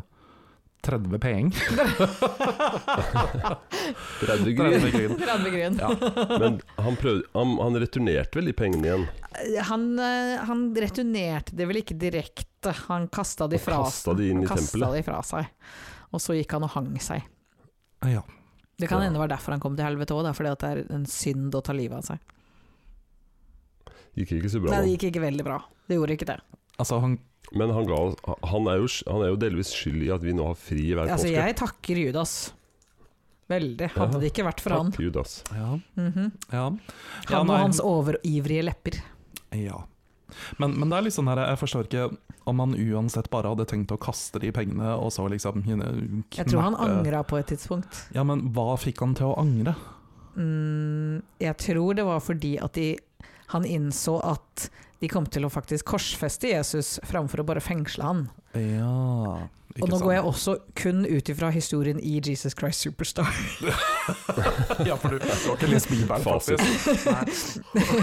[SPEAKER 3] 30 peng.
[SPEAKER 2] 30 gryn.
[SPEAKER 3] 30 gryn.
[SPEAKER 4] 30 grunn.
[SPEAKER 2] Men han, prøvde, han, han returnerte vel de pengene igjen?
[SPEAKER 4] Han, eh, han returnerte det vel ikke direkte, han kasta de
[SPEAKER 2] Og
[SPEAKER 4] fra
[SPEAKER 2] kasta de inn i
[SPEAKER 4] han kastet
[SPEAKER 2] tempelet?
[SPEAKER 4] de fra seg. Og så gikk han og hang seg.
[SPEAKER 3] Ja.
[SPEAKER 4] Det kan
[SPEAKER 2] Ja.
[SPEAKER 4] hende det var derfor han kom til helvete òg, fordi at det er en synd å ta livet av seg.
[SPEAKER 2] Gikk ikke så bra.
[SPEAKER 4] Nei,
[SPEAKER 2] da.
[SPEAKER 4] det gikk ikke veldig bra. Det gjorde ikke det.
[SPEAKER 3] Altså, han
[SPEAKER 2] Men han, ga, oss- han, er jo, han er jo delvis skyld i at vi nå har fri hver
[SPEAKER 4] Altså,
[SPEAKER 2] påske.
[SPEAKER 4] jeg takker Judas. Veldig.
[SPEAKER 2] Ja.
[SPEAKER 4] Hadde det ikke vært for han.
[SPEAKER 2] Takk, Judas.
[SPEAKER 3] Ja.
[SPEAKER 4] Mhm.
[SPEAKER 3] ja.
[SPEAKER 4] Han og
[SPEAKER 3] nei,
[SPEAKER 4] hans overivrige lepper.
[SPEAKER 3] Ja. Men, men det er litt sånn her, jeg forstår ikke om han uansett bare hadde tenkt å kaste de pengene, og så liksom you know,
[SPEAKER 4] Jeg tror han
[SPEAKER 3] knerte-
[SPEAKER 4] angra på et tidspunkt.
[SPEAKER 3] Ja, men hva fikk han til å angre?
[SPEAKER 4] Mm, jeg tror det var fordi at de, han innså at de kom til å faktisk korsfeste Jesus framfor å bare fengsle han.
[SPEAKER 3] Ja
[SPEAKER 4] Og nå går jeg også kun ut ifra historien i Jesus Christ Superstar.
[SPEAKER 3] Ja, for du har ikke lest Bibelen,
[SPEAKER 2] Fasit.
[SPEAKER 3] faktisk. Nei.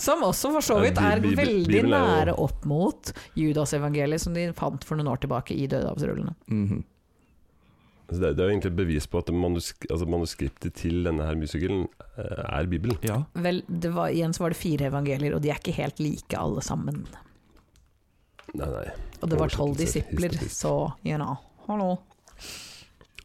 [SPEAKER 4] Som også for så vidt
[SPEAKER 2] Ja,
[SPEAKER 4] er
[SPEAKER 2] Bib- Bib-
[SPEAKER 4] veldig
[SPEAKER 2] Bibelen er jo-
[SPEAKER 4] nære opp mot Judas-evangeliet som de fant for noen år tilbake i Dødehavsrullene.
[SPEAKER 3] Mhm.
[SPEAKER 2] Så det, det er jo egentlig et bevis på at manusk altså manuskriptet til denne her musikalen eh, er Bibelen.
[SPEAKER 3] Ja.
[SPEAKER 4] Vel, det var, igjen så var det fire evangelier, og de er ikke helt like alle sammen.
[SPEAKER 2] Nei, nei.
[SPEAKER 4] Og det var tolv
[SPEAKER 2] Oversettelser,
[SPEAKER 4] disipler,
[SPEAKER 2] historisk.
[SPEAKER 4] så you know. Hallo.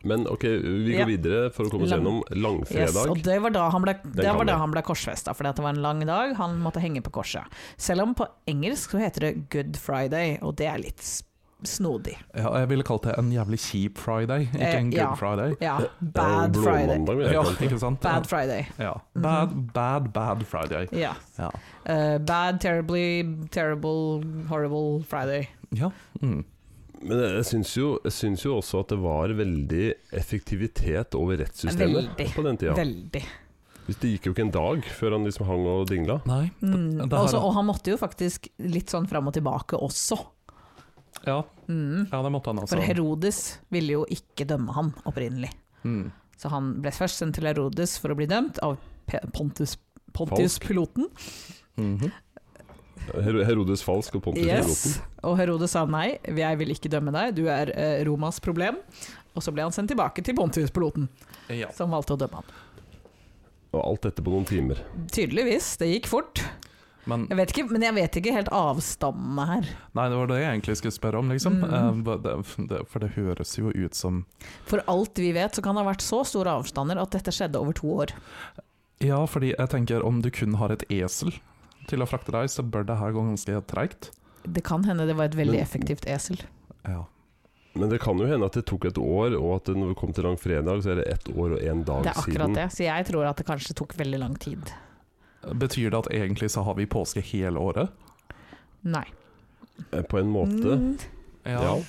[SPEAKER 2] Men ok, vi går
[SPEAKER 4] Ja.
[SPEAKER 2] videre for å komme oss
[SPEAKER 4] Lang-
[SPEAKER 2] gjennom
[SPEAKER 4] Yes,
[SPEAKER 2] langfredag.
[SPEAKER 4] og det var da han ble, det
[SPEAKER 2] kan
[SPEAKER 4] var
[SPEAKER 2] vi.
[SPEAKER 4] da han ble korsfesta, for det var en lang dag. Han måtte henge på korset. Selv om på engelsk så heter det Good Friday, og det er litt s- snodig.
[SPEAKER 3] ja, jeg ville kalt det en jævlig kjip friday, ikke
[SPEAKER 4] Eh,
[SPEAKER 3] en good
[SPEAKER 4] ja.
[SPEAKER 3] friday.
[SPEAKER 4] Ja,
[SPEAKER 2] Det er jo
[SPEAKER 4] Bad Friday.
[SPEAKER 2] Blåmandag, Eh, vil jeg
[SPEAKER 3] Ja,
[SPEAKER 2] kalle det.
[SPEAKER 3] ikke sant?
[SPEAKER 4] Bad Mhm. Friday.
[SPEAKER 3] ja. bad, bad, bad friday.
[SPEAKER 4] Ja.
[SPEAKER 3] Ja.
[SPEAKER 4] Eh, bad, terribly, terrible, horrible Friday.
[SPEAKER 3] ja. Mm.
[SPEAKER 2] Men jeg- jeg syns jo, jeg syns jo også at det var veldig effektivitet over rettssystemet
[SPEAKER 4] Veldig.
[SPEAKER 2] på den tida.
[SPEAKER 4] Veldig.
[SPEAKER 2] Hvis Det gikk jo ikke en dag før han liksom hang og dingla.
[SPEAKER 3] Nei.
[SPEAKER 4] Mm.
[SPEAKER 3] det her-
[SPEAKER 4] Også, og han måtte jo faktisk litt sånn fram og tilbake også.
[SPEAKER 3] Ja,
[SPEAKER 4] Mm.
[SPEAKER 3] ja det måtte han
[SPEAKER 4] For
[SPEAKER 3] altså.
[SPEAKER 4] Herodes ville jo ikke dømme han opprinnelig.
[SPEAKER 3] Mm.
[SPEAKER 4] Så han ble først sendt til Herodes for å bli dømt av Pe- Pontus, Pontius piloten.
[SPEAKER 3] Mhm.
[SPEAKER 2] Her Herodes falsk og Pontus
[SPEAKER 4] Yes. Og Herodes sa nei, jeg vil ikke dømme deg, du er eh, Romas problem. Og så ble han sendt tilbake til Pontius piloten,
[SPEAKER 3] Ja.
[SPEAKER 4] som valgte å dømme han.
[SPEAKER 2] Og alt dette på noen timer.
[SPEAKER 4] Tydeligvis, det gikk fort.
[SPEAKER 3] Men
[SPEAKER 4] Jeg vet ikke, men jeg vet ikke helt avstandene her.
[SPEAKER 3] Nei, det var det jeg egentlig skulle spørre om, liksom.
[SPEAKER 4] Mm.
[SPEAKER 3] Eh, hva- det- det- For det høres jo ut som
[SPEAKER 4] For alt vi vet, så kan det ha vært så store avstander at dette skjedde over to år.
[SPEAKER 3] Ja, fordi jeg tenker om du kun har et esel til å frakte deg, så bør det her gå ganske treigt.
[SPEAKER 4] Det kan hende det var et veldig
[SPEAKER 2] Men-
[SPEAKER 4] effektivt esel.
[SPEAKER 3] Ja.
[SPEAKER 2] Men det kan jo hende at det tok et år, og at det når vi kom til langfredag, så er det ett år og én dag
[SPEAKER 4] Det er akkurat
[SPEAKER 2] siden.
[SPEAKER 4] det, så jeg tror at det kanskje tok veldig lang tid.
[SPEAKER 3] Betyr det at egentlig så har vi påske hele året?
[SPEAKER 4] Nei.
[SPEAKER 2] Eh, På en måte.
[SPEAKER 4] Mm,
[SPEAKER 2] Ja.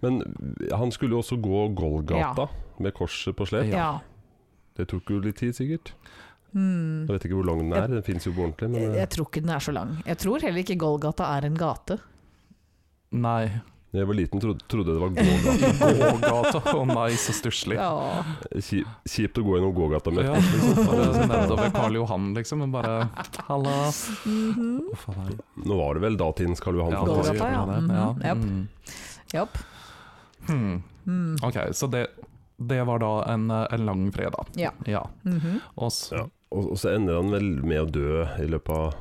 [SPEAKER 2] Men han skulle jo også gå Golgata med korset på slep.
[SPEAKER 4] ja.
[SPEAKER 2] Det tok jo litt tid, sikkert.
[SPEAKER 4] Mm.
[SPEAKER 2] Jeg vet ikke hvor lang den er, den fins jo på ordentlig. Men,
[SPEAKER 4] Jeg
[SPEAKER 2] eh,
[SPEAKER 4] jeg tror ikke den er så lang. Jeg tror heller ikke Golgata er en gate.
[SPEAKER 3] Nei.
[SPEAKER 2] da eh, jeg var liten, trodde, trodde jeg det var gågata.
[SPEAKER 3] Gågata. Å nei, så stusslig. Ja.
[SPEAKER 4] Ja.
[SPEAKER 2] Ki- Kjipt å gå gjennom gågata med. liksom.
[SPEAKER 3] bare Nedover Karl Johan, liksom. Men bare Halla.
[SPEAKER 4] Mhm.
[SPEAKER 3] Å, faen,
[SPEAKER 2] Nå var det vel datidens Karl Johan.
[SPEAKER 3] Ja,
[SPEAKER 2] faktisk.
[SPEAKER 4] Gågata, ja.
[SPEAKER 3] det-
[SPEAKER 4] Mhm,
[SPEAKER 3] ja.
[SPEAKER 4] japp.
[SPEAKER 3] Mm.
[SPEAKER 4] Japp.
[SPEAKER 3] Hmm.
[SPEAKER 4] Mm.
[SPEAKER 3] Ok, så det, det var da en, eh, en lang fredag.
[SPEAKER 4] Ja.
[SPEAKER 3] ja.
[SPEAKER 4] Mhm.
[SPEAKER 3] Og så
[SPEAKER 2] Ja. Og, og så ender han vel med å dø i løpet av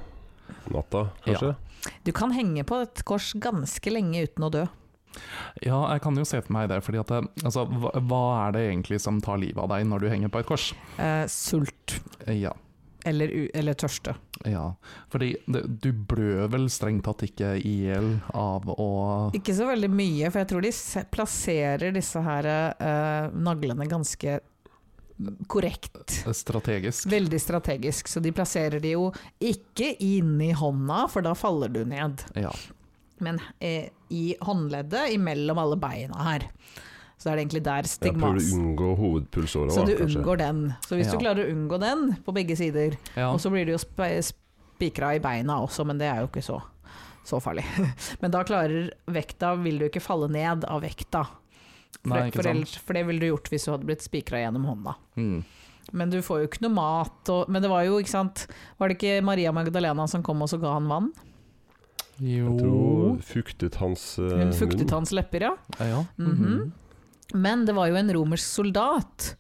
[SPEAKER 2] natta, kanskje?
[SPEAKER 4] Du kan henge på et kors ganske lenge uten å dø.
[SPEAKER 3] Ja, jeg kan jo se for meg det. fordi at, eh, altså, hva, hva er det egentlig som tar livet av deg når du henger på et kors?
[SPEAKER 4] Eh, sult
[SPEAKER 3] Eh, Ja,
[SPEAKER 4] eller, u- eller tørste.
[SPEAKER 3] ja. Fordi det- du blør vel strengt tatt ikke i hjel av å
[SPEAKER 4] Ikke så veldig mye, for jeg tror de se- plasserer disse her eh, naglene ganske korrekt.
[SPEAKER 3] Strategisk.
[SPEAKER 4] Veldig strategisk, så de plasserer de jo ikke inni hånda, for da faller du ned.
[SPEAKER 3] Ja.
[SPEAKER 4] Men eh, i håndleddet, imellom alle beina her. Så er det egentlig der
[SPEAKER 2] Jeg prøver
[SPEAKER 4] stigmas.
[SPEAKER 2] å unngå hovedpulsåra,
[SPEAKER 4] Så du
[SPEAKER 2] kanskje.
[SPEAKER 4] unngår den. Så hvis
[SPEAKER 3] Ja.
[SPEAKER 4] du klarer å unngå den på begge sider,
[SPEAKER 3] ja.
[SPEAKER 4] og så blir du jo spe- spikra i beina også, men det er jo ikke så, så farlig. men da klarer vekta, vil du ikke falle ned av vekta. For,
[SPEAKER 3] Nei, ikke
[SPEAKER 4] for,
[SPEAKER 3] sant.
[SPEAKER 4] ellers, for det ville du gjort hvis du hadde blitt spikra gjennom hånda.
[SPEAKER 3] Mm.
[SPEAKER 4] Men du får jo ikke noe mat. Og, men det var jo, ikke sant Var det ikke Maria Magdalena som kom og så ga han vann?
[SPEAKER 2] Jeg
[SPEAKER 3] Jo
[SPEAKER 2] tror fuktet hans eh,
[SPEAKER 4] Hun fuktet
[SPEAKER 2] munn.
[SPEAKER 4] hans lepper, ja.
[SPEAKER 3] Eh, Ja.
[SPEAKER 4] Mhm. Men det var jo en romersk soldat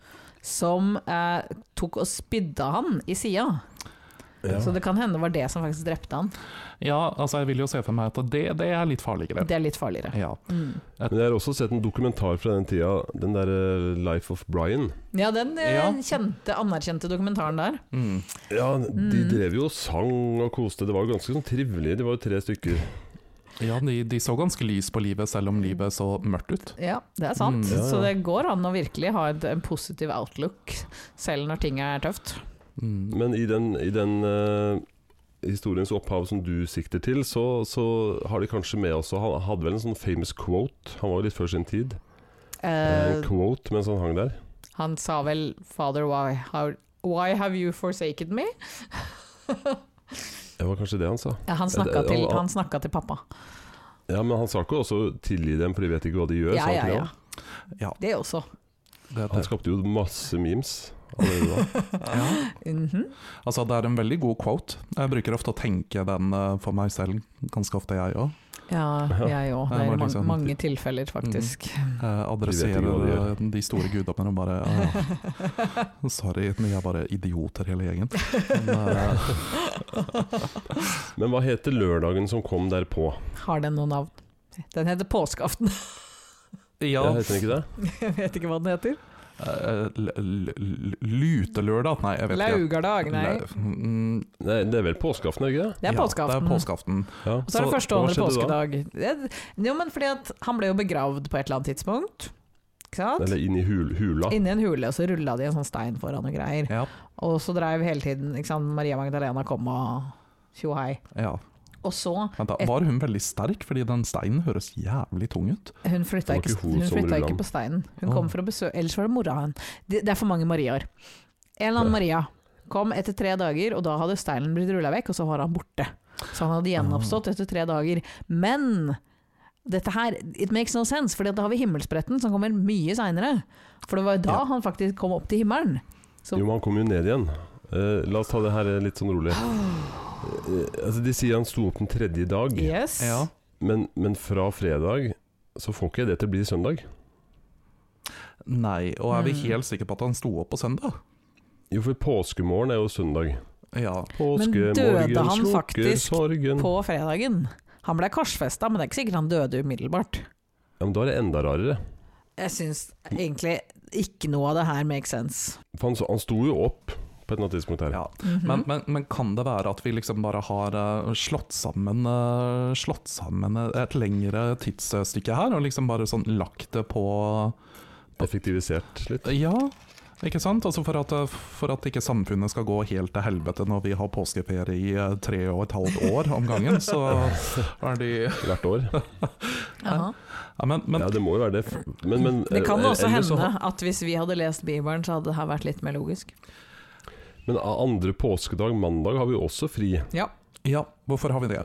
[SPEAKER 4] som eh, tok og spydde han i sida.
[SPEAKER 2] Ja.
[SPEAKER 4] Så det kan hende det var det som faktisk drepte han.
[SPEAKER 3] ja, altså jeg vil jo se for meg at det, det er litt farligere.
[SPEAKER 4] Det er litt farligere.
[SPEAKER 3] Ja.
[SPEAKER 4] Mm.
[SPEAKER 2] Men jeg har også sett en dokumentar fra den tida, den der eh, 'Life of Brian'.
[SPEAKER 4] Ja, den eh,
[SPEAKER 3] Ja.
[SPEAKER 4] kjente, anerkjente dokumentaren der.
[SPEAKER 3] Mm.
[SPEAKER 2] Ja, De
[SPEAKER 4] Mm.
[SPEAKER 2] drev jo og sang og koste. Det var jo ganske sånn trivelig. De var jo tre stykker.
[SPEAKER 3] ja de, de så ganske lys på livet,
[SPEAKER 4] Mm.
[SPEAKER 3] selv om livet så mørkt ut.
[SPEAKER 4] Ja, det er sant.
[SPEAKER 3] Mm, ja,
[SPEAKER 2] ja.
[SPEAKER 4] Så det går an å virkelig ha et, en positiv outlook, selv når ting er tøft.
[SPEAKER 3] Mm.
[SPEAKER 2] Men i den, i den eh, historiens opphav som du sikter til, så, så har de kanskje med også Han hadde vel en sånn famous quote, han var jo litt før sin tid.
[SPEAKER 4] Eh,
[SPEAKER 2] En quote mens han hang der.
[SPEAKER 4] han sa vel 'Father, why, how, why have you forsaken me?'
[SPEAKER 2] Det var kanskje det han sa.
[SPEAKER 4] Ja, Han
[SPEAKER 2] Eh,
[SPEAKER 4] snakka
[SPEAKER 2] det-
[SPEAKER 4] til,
[SPEAKER 2] han-
[SPEAKER 4] han snakka til pappa.
[SPEAKER 2] Ja, Men han sa ikke også 'tilgi dem, for de vet ikke hva de gjør'. sa
[SPEAKER 4] Ja,
[SPEAKER 2] han
[SPEAKER 4] ja,
[SPEAKER 2] ikke det?
[SPEAKER 4] ja.
[SPEAKER 3] Ja.
[SPEAKER 4] Det også.
[SPEAKER 3] Det,
[SPEAKER 2] Han skapte jo masse memes. allerede da.
[SPEAKER 3] ja.
[SPEAKER 4] Mhm.
[SPEAKER 3] Altså, det er en veldig god quote. Jeg bruker ofte å tenke den eh, for meg selv, ganske ofte jeg òg.
[SPEAKER 4] Ja, jeg òg.
[SPEAKER 3] Ja,
[SPEAKER 4] Det er
[SPEAKER 3] det var
[SPEAKER 4] mange,
[SPEAKER 3] liksom-
[SPEAKER 4] mange tilfeller, faktisk.
[SPEAKER 3] Eh,
[SPEAKER 2] De
[SPEAKER 3] Adresserer
[SPEAKER 2] vet ikke hva de
[SPEAKER 3] eh, de, store gudommene og bare «Ah, ja. Sorry, vi er bare idioter hele gjengen. Men, eh,
[SPEAKER 2] Men hva heter lørdagen som kom derpå?
[SPEAKER 4] Har den noe navn? Den heter Påskeaften.
[SPEAKER 3] ja,
[SPEAKER 2] Det heter den ikke det?
[SPEAKER 4] Jeg vet ikke hva den heter.
[SPEAKER 3] eh, l- l- l- Lutelørdag? Nei, jeg vet ikke.
[SPEAKER 4] Laugardag, nei.
[SPEAKER 3] Lau- mm,
[SPEAKER 2] Nei, det er vel påskeaften, er det ikke det?
[SPEAKER 4] Det er
[SPEAKER 3] ja, Det
[SPEAKER 4] påskeaften.
[SPEAKER 3] er påskeaften.
[SPEAKER 2] Ja.
[SPEAKER 4] Og så er det
[SPEAKER 2] Så
[SPEAKER 4] første og
[SPEAKER 2] hva
[SPEAKER 4] andre
[SPEAKER 2] skjedde da?
[SPEAKER 4] påskedag. Det, jo, men fordi at han ble jo begravd på et eller annet tidspunkt. Ikke sant?
[SPEAKER 2] Eller inn i hul, hula.
[SPEAKER 4] Inni en hule, og så rulla de en sånn stein foran og greier.
[SPEAKER 3] Ja,
[SPEAKER 4] Og så dreiv hele tiden ikke sant? Maria Magdalena kom og tjo hei.
[SPEAKER 3] ja.
[SPEAKER 4] Og så
[SPEAKER 3] Vent da, var hun veldig sterk? Fordi den steinen høres jævlig tung ut.
[SPEAKER 4] Hun
[SPEAKER 2] Det var
[SPEAKER 4] flytta ikke,
[SPEAKER 2] ikke hun
[SPEAKER 4] hun
[SPEAKER 2] som
[SPEAKER 4] flytta
[SPEAKER 2] rullet
[SPEAKER 4] ikke
[SPEAKER 2] den.
[SPEAKER 4] på steinen. Hun
[SPEAKER 3] Å.
[SPEAKER 4] kom for å besøke Ellers var det mora hun. Det, det er for mange Mariaer. En eller annen Maria kom etter tre dager, og da hadde steinen blitt rulla vekk, og så var han borte. Så han hadde
[SPEAKER 2] Ah.
[SPEAKER 4] gjenoppstått etter tre dager. Men dette her, it makes no sense, for da har vi himmelspretten som kommer mye seinere. For det var jo da
[SPEAKER 3] Ja.
[SPEAKER 4] han faktisk kom opp til himmelen. Så-
[SPEAKER 2] Jo, men han kom jo ned igjen. Eh, la oss ta det her litt sånn rolig. Eh, altså, de sier han sto opp den tredje dag,
[SPEAKER 4] Yes.
[SPEAKER 3] Ja.
[SPEAKER 2] men, men fra fredag så får ikke jeg det til å bli søndag.
[SPEAKER 3] Nei, og er vi
[SPEAKER 4] Mm.
[SPEAKER 3] helt sikre på at han sto opp på søndag?
[SPEAKER 2] Jo, for påskemorgen er jo søndag.
[SPEAKER 3] Ja.
[SPEAKER 4] døde
[SPEAKER 2] Påskemorgen
[SPEAKER 4] han
[SPEAKER 2] slukker
[SPEAKER 4] faktisk
[SPEAKER 2] sorgen.
[SPEAKER 4] På fredagen. Han ble korsfesta, men det er ikke sikkert han døde umiddelbart.
[SPEAKER 2] Ja, men da er det enda rarere.
[SPEAKER 4] Jeg syns egentlig ikke noe av det her makes sense.
[SPEAKER 2] For han, han sto jo opp på et eller annet tidspunkt her.
[SPEAKER 3] ja.
[SPEAKER 4] Mhm.
[SPEAKER 3] Men, men, men kan det være at vi liksom bare har eh, slått sammen, eh, slått sammen et lengre tidsstykke her, og liksom bare sånn lagt det på eh,
[SPEAKER 2] Effektivisert litt.
[SPEAKER 3] Ja, ikke sant? Altså for at, eh, for at ikke samfunnet skal gå helt til helvete når vi har påskeferie i eh, tre og et halvt år om gangen, så er de
[SPEAKER 2] Hvert år.
[SPEAKER 4] Jaha.
[SPEAKER 3] ja, Men, men
[SPEAKER 2] Ja, det må jo være det. Men, men,
[SPEAKER 4] Det kan
[SPEAKER 2] eh,
[SPEAKER 4] også
[SPEAKER 2] ellers så-
[SPEAKER 4] hende at hvis vi hadde lest Bibelen, så hadde det her vært litt mer logisk.
[SPEAKER 2] Men a- andre påskedag, mandag, har vi jo også fri.
[SPEAKER 4] Ja.
[SPEAKER 3] ja, hvorfor har vi det?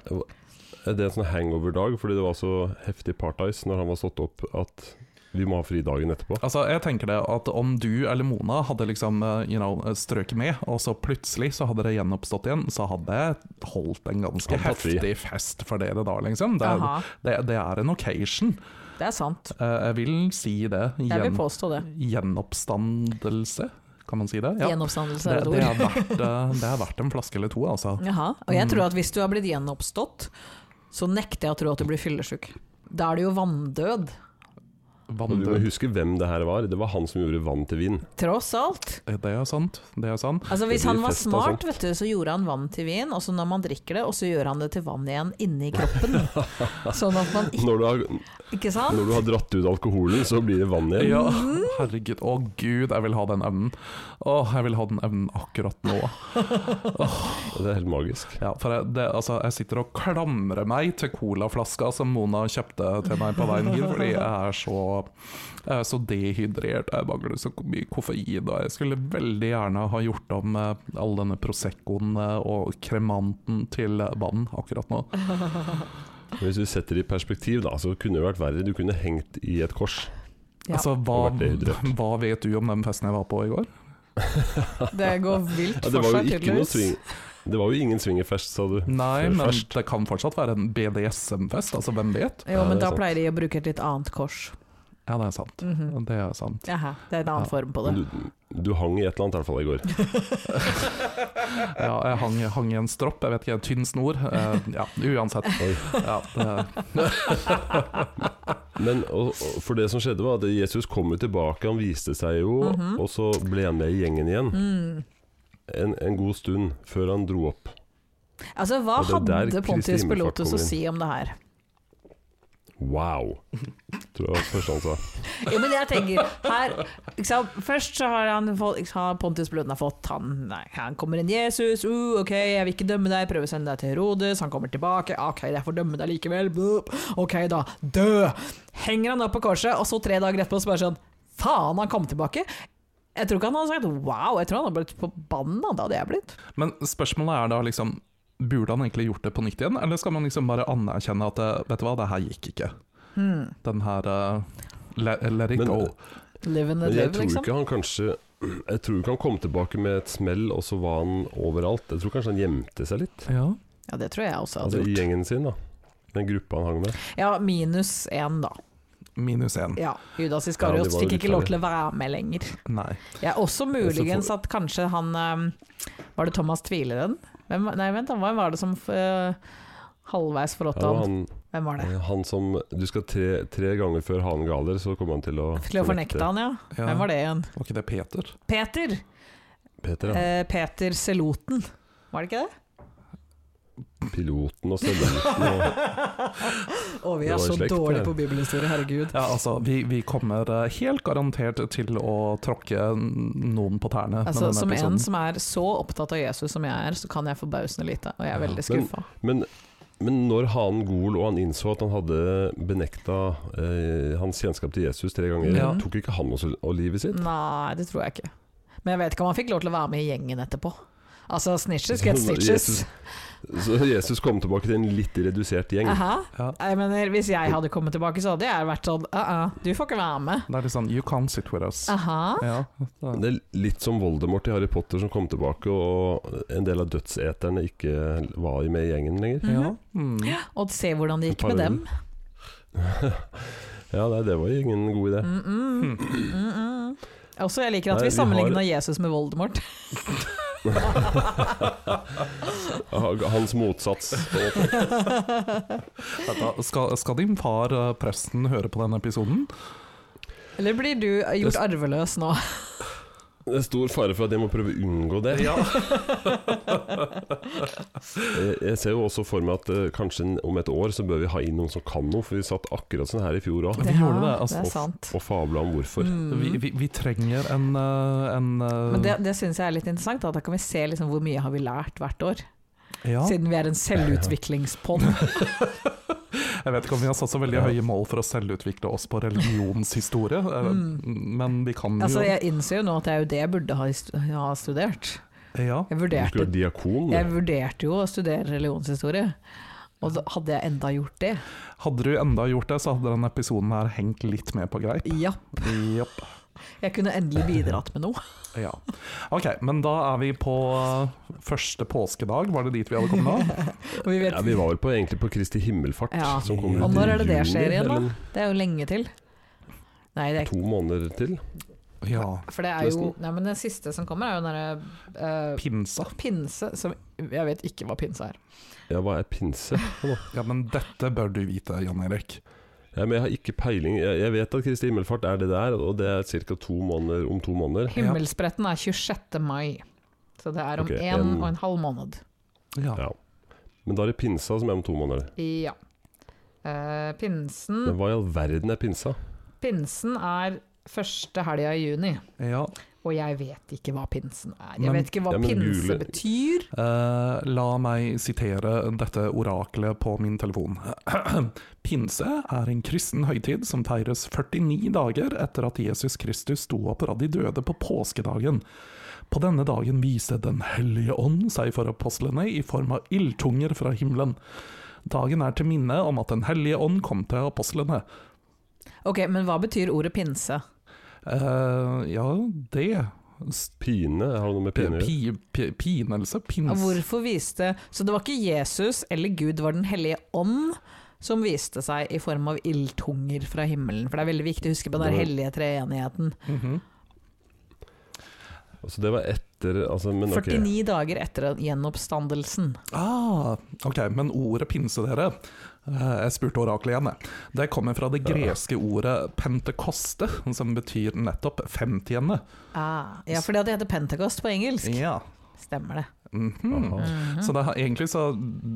[SPEAKER 2] Er det en sånn hangover-dag fordi det var så heftig parties når han var stått opp at vi må ha fri dagen etterpå?
[SPEAKER 3] Altså, jeg tenker det at om du eller Mona hadde liksom, eh, you know, strøket med, og så plutselig så hadde det gjenoppstått igjen, så hadde jeg holdt en ganske
[SPEAKER 2] Hadde tatt fri.
[SPEAKER 3] heftig fest for dere da, liksom. Det, er-
[SPEAKER 4] Aha.
[SPEAKER 3] det, det er en occasion.
[SPEAKER 4] Det er sant.
[SPEAKER 3] Eh, jeg vil si det.
[SPEAKER 4] Jeg vil
[SPEAKER 3] Gjen,
[SPEAKER 4] påstå det.
[SPEAKER 3] gjenoppstandelse, kan man si det? Ja.
[SPEAKER 4] Gjenoppstandelse
[SPEAKER 3] Det,
[SPEAKER 4] er et
[SPEAKER 3] det, er
[SPEAKER 4] ord.
[SPEAKER 3] verdt, eh, det er verdt en flaske eller to, altså.
[SPEAKER 4] Jaha. Og
[SPEAKER 2] Mm.
[SPEAKER 4] jeg tror at hvis du har blitt gjenoppstått, så nekter jeg å tro at du blir fyllesyk. Da er du jo vanndød,
[SPEAKER 2] Og du må
[SPEAKER 3] Vanndød.
[SPEAKER 2] huske hvem det her var. Det var han som gjorde vann til vin.
[SPEAKER 4] tross alt.
[SPEAKER 3] Eh, Det er sant. Det er sant.
[SPEAKER 4] Altså
[SPEAKER 2] Det
[SPEAKER 4] Hvis
[SPEAKER 2] blir
[SPEAKER 4] han var
[SPEAKER 2] fest og
[SPEAKER 4] smart,
[SPEAKER 2] sånt.
[SPEAKER 4] vet du, så gjorde han vann til vin, og så når man drikker det, og så gjør han det til vann igjen inni kroppen. Sånn at man ikke
[SPEAKER 2] Når du har,
[SPEAKER 4] Ikke sant?
[SPEAKER 2] når du har dratt ut alkoholen, så blir det vann igjen.
[SPEAKER 3] Ja, herregud. Å gud, jeg vil ha den evnen. Å, jeg vil ha den evnen akkurat nå.
[SPEAKER 2] Og Det er helt magisk.
[SPEAKER 3] Ja, for jeg, det, altså, jeg sitter og klamrer meg til colaflaska som Mona kjøpte til meg på veien hit, fordi jeg er så, jeg er så dehydrert. Jeg mangler så mye koffein. Og jeg skulle veldig gjerne ha gjort om eh, all denne Proseccoen eh, og kremanten til eh, vann akkurat nå.
[SPEAKER 2] Men Hvis du setter det i perspektiv, da, så kunne det vært verre. Du kunne hengt i et kors.
[SPEAKER 4] Ja.
[SPEAKER 3] Altså, hva,
[SPEAKER 2] Og vært dehydrert.
[SPEAKER 3] hva vet du om den festen jeg var på i går?
[SPEAKER 4] Det går vilt
[SPEAKER 2] Ja, det,
[SPEAKER 4] for
[SPEAKER 2] var
[SPEAKER 4] seg,
[SPEAKER 2] jo ikke noe
[SPEAKER 4] tydeligvis.
[SPEAKER 2] swing. det var jo ingen swingerfest, sa du.
[SPEAKER 3] Nei,
[SPEAKER 2] Før
[SPEAKER 3] men
[SPEAKER 2] først.
[SPEAKER 3] det kan fortsatt være en BDSM-fest. Altså, hvem vet?
[SPEAKER 4] Jo,
[SPEAKER 2] Ja,
[SPEAKER 4] men
[SPEAKER 2] det er
[SPEAKER 4] da
[SPEAKER 2] sant.
[SPEAKER 4] pleier de å bruke et litt annet kors.
[SPEAKER 3] Ja, det er sant.
[SPEAKER 4] Mhm.
[SPEAKER 3] Det er sant.
[SPEAKER 4] Jaha, det er en annen
[SPEAKER 3] Ja.
[SPEAKER 4] form på det.
[SPEAKER 2] Men Du, du hang i et eller annet i hvert fall i går.
[SPEAKER 3] Ja, jeg hang, hang i en stropp, jeg vet ikke, en tynn snor. Eh, ja, uansett. Ja, det,
[SPEAKER 2] Men og, og for det som skjedde var at Jesus kom jo tilbake, han viste seg jo,
[SPEAKER 4] Mhm.
[SPEAKER 2] og så ble han med i gjengen igjen.
[SPEAKER 4] Mm.
[SPEAKER 2] En, en god stund før han dro opp.
[SPEAKER 4] Altså, Hva
[SPEAKER 2] Og det er der
[SPEAKER 4] hadde
[SPEAKER 2] Kristi
[SPEAKER 4] Pontius
[SPEAKER 2] himmelfart
[SPEAKER 4] Pilotus
[SPEAKER 2] kommer
[SPEAKER 4] å
[SPEAKER 2] inn.
[SPEAKER 4] si om det her?
[SPEAKER 2] Wow, tror jeg var det første han sa.
[SPEAKER 4] Jo, men jeg tenker her ikke sant? Først så har han fått, ikke sant, Pontius Bløden har fått han, nei, han kommer en Jesus, uh, ok, jeg vil ikke dømme deg, prøver å sende deg til Herodes, han kommer tilbake, ah, ok, jeg får dømme deg likevel, blup. ok da, dø! Henger han opp på korset, og så tre dager etterpå så bare sånn, faen, han kom tilbake. Jeg tror ikke han hadde sagt wow, jeg tror han hadde blitt forbanna, det hadde jeg blitt.
[SPEAKER 3] Men spørsmålet er da liksom Burde han egentlig gjort det på nytt igjen, eller skal man liksom bare anerkjenne at eh, Vet du hva, det her gikk ikke.
[SPEAKER 4] Hmm.
[SPEAKER 3] Den her eh, let, let it
[SPEAKER 2] Men-
[SPEAKER 3] go.
[SPEAKER 4] Live and
[SPEAKER 2] Men
[SPEAKER 4] live,
[SPEAKER 2] jeg tror
[SPEAKER 4] liksom.
[SPEAKER 2] ikke han kanskje Jeg tror ikke han kom tilbake med et smell, og så var han overalt. Jeg tror kanskje han gjemte seg litt.
[SPEAKER 3] Ja.
[SPEAKER 4] Ja, det tror jeg også
[SPEAKER 2] Altså I
[SPEAKER 4] hadde gjort.
[SPEAKER 2] gjengen sin, da. Den gruppa han hang med.
[SPEAKER 4] Ja, minus én, da.
[SPEAKER 3] Minus én.
[SPEAKER 4] Ja, Judas
[SPEAKER 2] Ja,
[SPEAKER 4] Iskariot
[SPEAKER 2] de var jo
[SPEAKER 4] fikk ikke lov
[SPEAKER 2] urettferdige.
[SPEAKER 4] til å være med lenger.
[SPEAKER 3] Nei.
[SPEAKER 4] Ja, også muligens at kanskje han ehm, Var det Thomas Tvileren? Hvem, var- nei, vent, da, hvem var det som eh, halvveis forrådte
[SPEAKER 2] Ja, og
[SPEAKER 4] han?
[SPEAKER 2] han,
[SPEAKER 4] Hvem var det?
[SPEAKER 2] han som Du skal tre, tre ganger før hanen galer, så kommer han til å
[SPEAKER 4] Til å fornekte han, ja.
[SPEAKER 3] Ja.
[SPEAKER 4] Hvem var det igjen?
[SPEAKER 3] Var ikke det Peter?
[SPEAKER 4] Peter!
[SPEAKER 2] Peter, ja.
[SPEAKER 4] Eh, Peter Seloten. Var det ikke det?
[SPEAKER 2] Piloten og støvelen og
[SPEAKER 4] Å,
[SPEAKER 2] Det
[SPEAKER 4] vi er
[SPEAKER 2] var i
[SPEAKER 4] så
[SPEAKER 2] slekt,
[SPEAKER 4] dårlige
[SPEAKER 2] det.
[SPEAKER 4] på bibelhistorie, herregud.
[SPEAKER 3] Ja, altså, vi, vi kommer eh, helt garantert til å tråkke n- noen på tærne med
[SPEAKER 4] Altså,
[SPEAKER 3] denne
[SPEAKER 4] som en
[SPEAKER 3] episoden.
[SPEAKER 4] som er så opptatt av Jesus som jeg er, så kan jeg forbausende lite, og jeg er veldig
[SPEAKER 2] Men-
[SPEAKER 4] skuffa.
[SPEAKER 2] Men, men når hanen Gol og han innså at han hadde benekta eh, hans kjennskap til Jesus tre ganger,
[SPEAKER 3] Ja.
[SPEAKER 2] tok ikke han også og livet sitt?
[SPEAKER 4] Nei, det tror jeg ikke. Men jeg vet ikke om han fikk lov til å være med i gjengen etterpå. Altså, snitches get stitches.
[SPEAKER 2] Jesus, så Jesus kom tilbake til en litt redusert gjeng.
[SPEAKER 4] Aha.
[SPEAKER 3] Ja.
[SPEAKER 4] Jeg mener, hvis jeg hadde kommet tilbake, så hadde jeg vært sånn «Uh-uh, Du får ikke være med.
[SPEAKER 3] Det er litt sånn You can't sit with us.
[SPEAKER 4] Aha.
[SPEAKER 3] Ja, da-
[SPEAKER 2] Det er litt som Voldemort i Harry Potter som kom tilbake, og en del av dødseterne ikke var med i gjengen lenger.
[SPEAKER 3] ja. Mm.
[SPEAKER 4] Mhm. Og se hvordan det gikk med dem.
[SPEAKER 2] Parallellen. Ja, nei, det var jo ingen god idé.
[SPEAKER 4] Mm
[SPEAKER 3] Hmm.
[SPEAKER 4] -mm. Mm -mm. Også jeg liker at
[SPEAKER 2] Nei,
[SPEAKER 4] vi
[SPEAKER 2] vi
[SPEAKER 4] sammenligna
[SPEAKER 2] har-
[SPEAKER 4] Jesus med Voldemort.
[SPEAKER 2] Hans motsats. på en måte.
[SPEAKER 3] Da, skal, skal din far, eh, presten, høre på denne episoden?
[SPEAKER 4] Eller blir du gjort
[SPEAKER 2] Det-
[SPEAKER 4] arveløs nå?
[SPEAKER 2] Det er stor fare for at jeg må prøve å unngå det.
[SPEAKER 3] Ja.
[SPEAKER 2] Jeg jeg ser jo også for meg at eh, kanskje en- om et år så bør vi ha inn noen som kan noe, for vi satt akkurat sånn her i fjor òg.
[SPEAKER 3] Vi gjorde det, altså.
[SPEAKER 4] det Mm, er sant.
[SPEAKER 2] Og fabla om hvorfor.
[SPEAKER 3] Vi, vi, vi trenger en, eh, en eh,
[SPEAKER 4] Men det, det syns jeg er litt interessant. Da, da kan vi se liksom hvor mye har vi lært hvert år.
[SPEAKER 3] ja.
[SPEAKER 4] Siden vi er en selvutviklingspod.
[SPEAKER 3] Jeg vet ikke om vi har satt så veldig høye mål for å selvutvikle oss på religionshistorie, eh, men vi kan jo
[SPEAKER 4] Altså, jeg innser jo nå at det er jo det jeg burde ha, st- ha studert.
[SPEAKER 3] ja.
[SPEAKER 4] Jeg
[SPEAKER 2] Du
[SPEAKER 4] vurderte
[SPEAKER 2] skulle være diakon.
[SPEAKER 4] Jeg vurderte jo å studere religionshistorie, og da hadde jeg enda gjort det.
[SPEAKER 3] Hadde du enda gjort det, så hadde denne episoden her hengt litt mer på greip.
[SPEAKER 4] Ja,
[SPEAKER 3] Japp.
[SPEAKER 4] jeg kunne endelig bidratt med noe.
[SPEAKER 3] Ja. Ok, men da er vi på eh, første påskedag, var det dit vi hadde kommet da?
[SPEAKER 4] Og vi vet,
[SPEAKER 2] Ja, vi var vel på, egentlig på Kristi himmelfart.
[SPEAKER 4] Ja.
[SPEAKER 2] Som kommer
[SPEAKER 4] Og
[SPEAKER 2] ut i
[SPEAKER 4] når er det det
[SPEAKER 2] juni,
[SPEAKER 4] skjer igjen, da?
[SPEAKER 2] eller
[SPEAKER 4] det er jo lenge til. Nei, det er ikke
[SPEAKER 2] To måneder til.
[SPEAKER 3] Ja.
[SPEAKER 4] For det er jo Nei, men det siste som kommer, er jo den derre eh,
[SPEAKER 3] Pinsa.
[SPEAKER 4] pinse, som Jeg vet ikke hva pinse er.
[SPEAKER 2] Ja, hva er pinse? Nå?
[SPEAKER 3] Ja, men dette bør du vite, Jan Erik.
[SPEAKER 2] Ja, men jeg har ikke peiling. Jeg, jeg vet at Kristi himmelfart er det der, og det er ca. to måneder om to måneder.
[SPEAKER 4] Himmelspretten er 26. mai, så det er om
[SPEAKER 2] Ok,
[SPEAKER 4] én
[SPEAKER 2] en-
[SPEAKER 4] og en halv måned.
[SPEAKER 3] Ja.
[SPEAKER 2] Ja. Men da er det pinsa som er om to måneder.
[SPEAKER 4] Ja. Eh, pinsen
[SPEAKER 2] Men hva i all verden er pinsa?
[SPEAKER 4] Pinsen er første helga i juni.
[SPEAKER 3] ja.
[SPEAKER 4] Og jeg vet ikke hva pinsen er. Jeg
[SPEAKER 3] Men-
[SPEAKER 4] vet ikke hva
[SPEAKER 2] Ja, men
[SPEAKER 4] pinse
[SPEAKER 2] jule-
[SPEAKER 4] betyr.
[SPEAKER 3] Eh, la meg sitere dette oraklet på min telefon. Pinse er en kristen høytid som feires 49 dager etter at Jesus Kristus sto opp fra de døde på påskedagen. På denne dagen viste Den hellige ånd seg for apostlene i form av ildtunger fra himmelen. Dagen er til minne om at Den hellige ånd kom til apostlene.
[SPEAKER 4] Ok, men hva betyr ordet pinse?
[SPEAKER 3] Eh, ja, det S-
[SPEAKER 2] Pine? Har det noe med pine å gjøre?
[SPEAKER 3] pi, pi, Pinelse?
[SPEAKER 4] Og
[SPEAKER 3] Pins...
[SPEAKER 4] Hvorfor viste Så det var ikke Jesus eller Gud, det var Den hellige ånd som viste seg i form av ildtunger fra himmelen. For det er veldig viktig å huske på den der
[SPEAKER 2] Det var-
[SPEAKER 4] hellige treenigheten.
[SPEAKER 3] Mhm.
[SPEAKER 2] Altså, det var etter altså, men, ok.
[SPEAKER 4] 49 dager etter gjenoppstandelsen.
[SPEAKER 3] Ah, ok, men ordet pinse, dere eh, Jeg spurte oraklet igjen, jeg. Det kommer fra det greske ordet pentekoste, som betyr nettopp femtiende.
[SPEAKER 4] Ah, ja, fordi at det heter Pentecost på engelsk.
[SPEAKER 3] Ja.
[SPEAKER 4] Stemmer det.
[SPEAKER 3] Mhm.
[SPEAKER 2] Aha.
[SPEAKER 4] Mhm.
[SPEAKER 3] Så det, er- egentlig så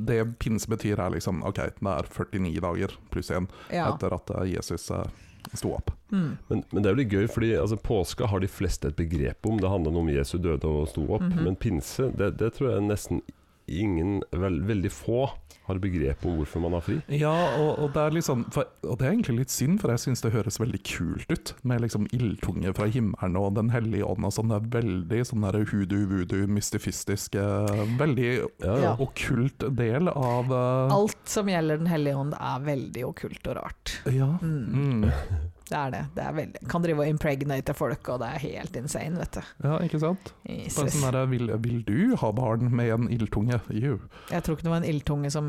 [SPEAKER 3] det pinse betyr er liksom Ok, det er 49 dager pluss én
[SPEAKER 4] ja.
[SPEAKER 3] etter at eh, Jesus eh, sto opp.
[SPEAKER 4] Mm.
[SPEAKER 2] Men, men det er jo litt gøy, fordi altså, påske har de fleste et begrep om. Det handler om Jesu døde og sto opp.
[SPEAKER 4] Mhm.
[SPEAKER 2] Men pinse, det, det tror jeg nesten ingen, vel, veldig få, har begrep om hvorfor man har fri.
[SPEAKER 3] Ja, og, og, det er liksom, for, og det er egentlig litt synd, for jeg syns det høres veldig kult ut. Med liksom ildtunge fra himmelen og Den hellige ånd og sånn. Det er veldig sånn der hudu-vudu, mystifistisk eh, Veldig
[SPEAKER 2] Ja,
[SPEAKER 4] Ja.
[SPEAKER 3] okkult del av eh,
[SPEAKER 4] Alt som gjelder Den hellige ånd er veldig okkult og rart.
[SPEAKER 3] Ja.
[SPEAKER 4] Mm.
[SPEAKER 3] Mm.
[SPEAKER 4] Det er det. det er veldig, kan drive og impregnate folk, og det er helt insane, vet du.
[SPEAKER 3] ja, ikke sant? Bare
[SPEAKER 4] Jesus.
[SPEAKER 3] sånn der, vil, vil du ha barn med en ildtunge? Jo.
[SPEAKER 4] Jeg tror ikke det var en ildtunge som,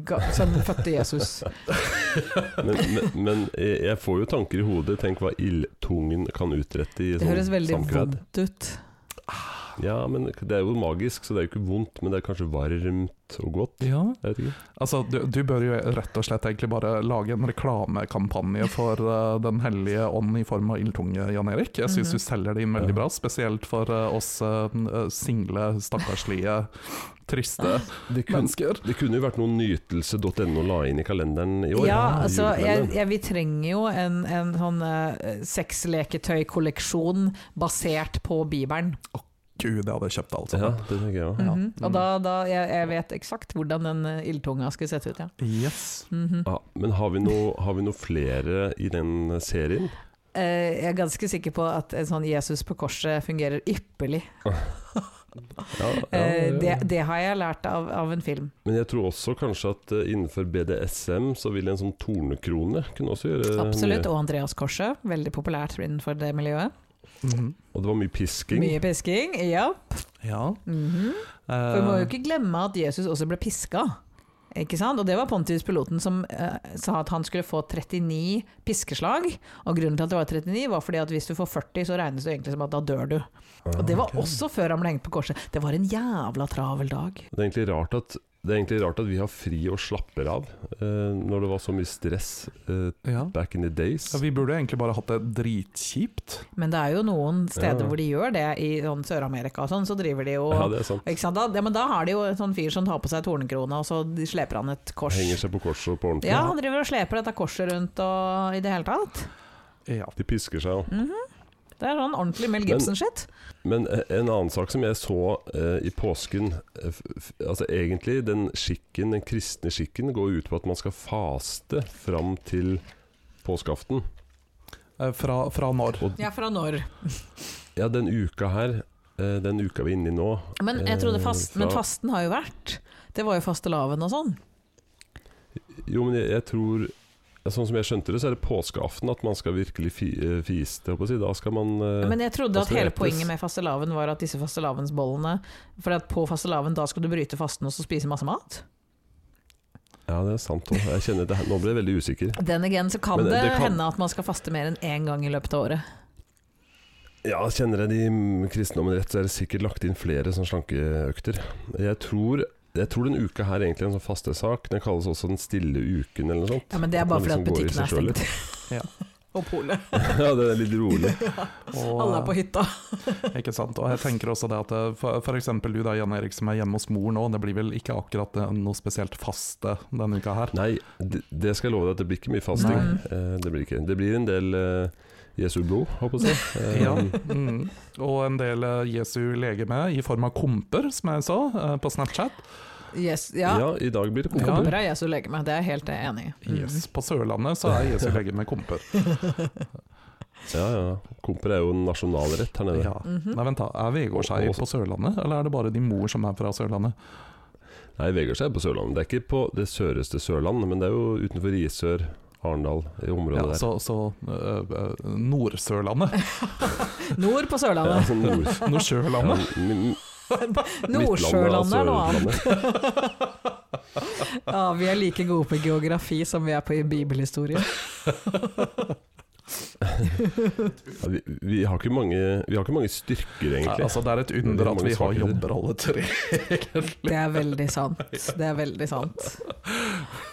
[SPEAKER 4] ga, som fødte Jesus.
[SPEAKER 2] Men, men, men jeg jeg får jo tanker i hodet. Tenk hva ildtungen kan utrette i
[SPEAKER 4] Det høres
[SPEAKER 2] sånn
[SPEAKER 4] veldig
[SPEAKER 2] samkved.
[SPEAKER 4] vondt ut.
[SPEAKER 2] Ja, men det er jo magisk, så det er jo ikke vondt. Men det er kanskje varmt og godt.
[SPEAKER 3] Ja.
[SPEAKER 2] Jeg vet ikke.
[SPEAKER 3] Altså, du, du bør jo rett og slett egentlig bare lage en reklamekampanje for eh, Den hellige ånd i form av ildtunge, Jan Erik. Jeg
[SPEAKER 4] Mhm.
[SPEAKER 3] syns du selger det inn veldig bra, spesielt for eh, oss eh, single, stakkarslige,
[SPEAKER 4] Ah.
[SPEAKER 3] triste
[SPEAKER 2] Det kunne,
[SPEAKER 3] mennesker.
[SPEAKER 2] det kunne jo vært noe nytelse.no la inn i kalenderen i år.
[SPEAKER 4] Ja, altså, jeg,
[SPEAKER 2] julekalenderen.
[SPEAKER 4] jeg, vi trenger jo en, en sånn eh, sexleketøykolleksjon basert på Bibelen.
[SPEAKER 3] Gud, jeg hadde kjøpt det, altså.
[SPEAKER 4] sånn.
[SPEAKER 2] ja, mm. det tenker jeg òg.
[SPEAKER 3] Ja.
[SPEAKER 4] Mhm. Og da, da jeg, jeg vet eksakt hvordan den eh, ildtunga skulle sett ut, ja.
[SPEAKER 3] Yes.
[SPEAKER 4] Mhm.
[SPEAKER 2] Ja, men har vi, noe, har vi noe flere i den serien?
[SPEAKER 4] Eh, jeg er ganske sikker på at en sånn Jesus på korset fungerer ypperlig.
[SPEAKER 2] Ja, ja,
[SPEAKER 4] Eh,
[SPEAKER 2] ja.
[SPEAKER 4] det, det har jeg lært av, av en film.
[SPEAKER 2] Men jeg tror også kanskje at eh, innenfor BDSM så vil en sånn tornekrone kunne også gjøre
[SPEAKER 4] Absolutt.
[SPEAKER 2] mye.
[SPEAKER 4] Og Andreas Korset, veldig populært innenfor det miljøet.
[SPEAKER 3] Mhm.
[SPEAKER 2] Og det var mye pisking.
[SPEAKER 4] Mye pisking, ja.
[SPEAKER 3] Ja.
[SPEAKER 4] Mhm. For vi må
[SPEAKER 2] Eh.
[SPEAKER 4] jo ikke glemme at Jesus også ble piska. Ikke sant? Og det var Pontius piloten som eh, sa at han skulle få 39 piskeslag. Og grunnen til at det var 39 var fordi at hvis du får 40, så regnes det egentlig som at da dør du. Og
[SPEAKER 2] Ah,
[SPEAKER 4] det var også før han ble hengt på korset. Det var en jævla travel dag.
[SPEAKER 2] Det er egentlig rart at det er egentlig rart at vi har fri og slapper av eh, når det var så mye stress eh,
[SPEAKER 3] Eh, ja.
[SPEAKER 2] back in the days.
[SPEAKER 3] Ja, vi burde egentlig bare hatt det dritkjipt.
[SPEAKER 4] Men det er jo noen steder
[SPEAKER 2] Ja.
[SPEAKER 4] hvor de gjør det, i sånn Sør-Amerika og sånn, så driver de jo
[SPEAKER 2] Ja, det er sant.
[SPEAKER 4] ikke sant? Da, ja, men da har de jo en sånn fyr som tar på seg tornekrone, og så sleper han et kors.
[SPEAKER 2] Henger seg på korset og på ordentlig.
[SPEAKER 4] Ja, han driver og sleper dette korset rundt og i det hele tatt.
[SPEAKER 3] Ja.
[SPEAKER 2] De pisker seg jo.
[SPEAKER 4] Det er sånn ordentlig Mel
[SPEAKER 2] Men-
[SPEAKER 4] Gibson-shit.
[SPEAKER 2] Men eh, en annen sak som jeg så eh, i påsken eh, f f Altså egentlig den skikken, den kristne skikken går ut på at man skal faste fram til påskeaften.
[SPEAKER 3] Eh, Fra, fra når?
[SPEAKER 2] Og
[SPEAKER 4] Ja, fra når?
[SPEAKER 2] ja, den uka her eh, Den uka vi er inne i nå
[SPEAKER 4] Men jeg trodde fast,
[SPEAKER 2] Eh,
[SPEAKER 4] men
[SPEAKER 2] fra-
[SPEAKER 4] fasten har jo vært. Det var jo fastelavn og sånn.
[SPEAKER 2] Jo, men jeg, jeg tror ja, Sånn som jeg skjønte det, så er det påskeaften at man skal virkelig fi eh, fiste. holdt på å si. Da skal man eh,
[SPEAKER 4] Men jeg trodde at
[SPEAKER 2] faste
[SPEAKER 4] hele
[SPEAKER 2] etes.
[SPEAKER 4] poenget med fastelavn var at disse fastelavnsbollene For at på fastelavn da skal du bryte fasten og så spise masse mat?
[SPEAKER 2] Ja, det er sant. også. Jeg kjenner det her. Nå ble jeg veldig usikker.
[SPEAKER 4] Den again, så kan
[SPEAKER 2] Men
[SPEAKER 4] det,
[SPEAKER 2] det kan-
[SPEAKER 4] hende at man skal faste mer enn én gang i løpet av året.
[SPEAKER 2] Ja, kjenner jeg de mm, kristendommen rett, så er det sikkert lagt inn flere sånne slankeøkter. Jeg tror, jeg tror den uka her egentlig er en sånn fastesak. Den kalles også Den stille uken eller noe sånt.
[SPEAKER 4] Ja, Men det er
[SPEAKER 2] At
[SPEAKER 4] bare
[SPEAKER 2] man
[SPEAKER 4] fordi at
[SPEAKER 2] liksom går i
[SPEAKER 4] butikken
[SPEAKER 2] seg
[SPEAKER 4] er
[SPEAKER 2] selv litt.
[SPEAKER 4] stengt.
[SPEAKER 3] Ja.
[SPEAKER 4] Og polet.
[SPEAKER 2] ja, det er litt rolig.
[SPEAKER 3] Og,
[SPEAKER 4] Alle er på hytta.
[SPEAKER 3] Ikke sant. Og jeg tenker også det at eh, for, for eksempel du da, Jan Erik, som er hjemme hos mor nå, det blir vel ikke akkurat eh, noe spesielt faste denne uka her.
[SPEAKER 2] Nei, det, det skal jeg love deg at det blir ikke mye fasting. Eh, det, blir ikke. det blir en del eh, Jesu blod, håper jeg å si. Eh,
[SPEAKER 3] Ja. Mm. Og en del eh, Jesu legeme i form av komper, som jeg så eh, på Snapchat.
[SPEAKER 4] Yes,
[SPEAKER 2] ja.
[SPEAKER 4] ja.
[SPEAKER 2] i dag blir det
[SPEAKER 3] Ja.
[SPEAKER 2] komper.
[SPEAKER 4] Kommer av Jesu legeme, det er jeg helt enig i.
[SPEAKER 2] Mhm.
[SPEAKER 4] Mm.
[SPEAKER 3] Yes, På Sørlandet så er Jesu legeme komper.
[SPEAKER 2] Ja, ja. Komper er jo en nasjonalrett her nede.
[SPEAKER 3] Ja.
[SPEAKER 4] Mhm.
[SPEAKER 3] Nei, vent da, Er Vegårshei på Sørlandet, eller er det bare de mor som er fra Sørlandet?
[SPEAKER 2] Nei, Vegard seg på Sørlandet. Det er ikke på det søreste Sørland, men det er jo utenfor Risør, Arendal, i området
[SPEAKER 3] Ja,
[SPEAKER 2] der.
[SPEAKER 3] så så eh, eh, Nord-Sørlandet.
[SPEAKER 4] Nord på
[SPEAKER 2] Ja,
[SPEAKER 4] Sørlandet.
[SPEAKER 2] sånn nord, ja,
[SPEAKER 3] Nord-Sørlandet.
[SPEAKER 2] mi-
[SPEAKER 4] Nordsjølandet er noe annet.
[SPEAKER 2] altså Sørlandet.
[SPEAKER 4] Ja, vi er like gode på geografi som vi er på bibelhistorie.
[SPEAKER 2] Ja, vi, vi, har ikke mange, vi har ikke mange styrker,
[SPEAKER 3] Ja,
[SPEAKER 2] egentlig.
[SPEAKER 3] altså, det er et
[SPEAKER 2] Men det
[SPEAKER 3] under
[SPEAKER 2] er
[SPEAKER 3] at
[SPEAKER 2] mange
[SPEAKER 3] vi har
[SPEAKER 2] svakheter.
[SPEAKER 3] jobber alle tre.
[SPEAKER 4] Det er veldig sant. Det er veldig sant.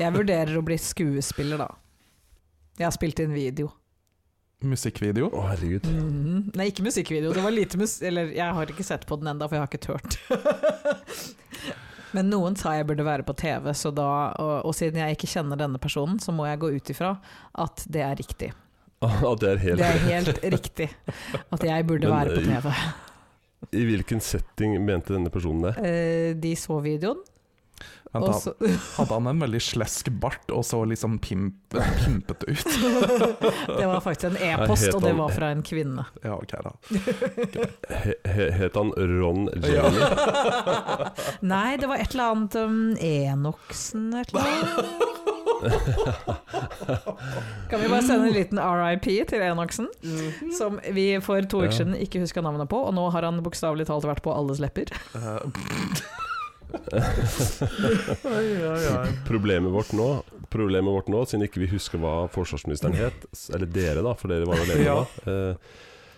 [SPEAKER 4] Jeg vurderer å bli skuespiller, da. Jeg har spilt inn video.
[SPEAKER 3] musikkvideo.
[SPEAKER 2] Å, herregud.
[SPEAKER 4] Mhm. Nei, ikke musikkvideo. Det var lite mus... Eller, jeg har ikke sett på den enda, for jeg har ikke tørt. Men noen sa jeg burde være på TV, så da, og, og siden jeg ikke kjenner denne personen, så må jeg gå ut ifra at det er riktig.
[SPEAKER 2] Ah, det er helt
[SPEAKER 4] Det er helt riktig at jeg burde
[SPEAKER 2] Men,
[SPEAKER 4] være på
[SPEAKER 2] eh,
[SPEAKER 4] TV.
[SPEAKER 2] I hvilken setting mente denne personen det?
[SPEAKER 4] Eh, De så videoen, og
[SPEAKER 3] Vent, da.
[SPEAKER 4] så
[SPEAKER 3] Hadde han en veldig slesk bart og så liksom pimp, pimpet ut?
[SPEAKER 4] Det var faktisk en e-post,
[SPEAKER 2] het
[SPEAKER 4] og det
[SPEAKER 2] han-
[SPEAKER 4] var fra en kvinne.
[SPEAKER 3] Ja, ok da.
[SPEAKER 2] He, he, het han Ron
[SPEAKER 3] Ja.
[SPEAKER 2] Jeremy?
[SPEAKER 4] Nei, det var et eller annet um, Enoksen et eller annet. Kan vi bare sende en liten RIP til Enoksen, som vi for to uker
[SPEAKER 2] Ja.
[SPEAKER 4] siden ikke huska navnet på, og nå har han bokstavelig talt vært på alles lepper.
[SPEAKER 2] Problemet vårt nå, problemet vårt nå siden ikke vi husker hva forsvarsministeren het, s- eller dere, da, for dere var jo alene
[SPEAKER 3] Ja.
[SPEAKER 2] da, eh,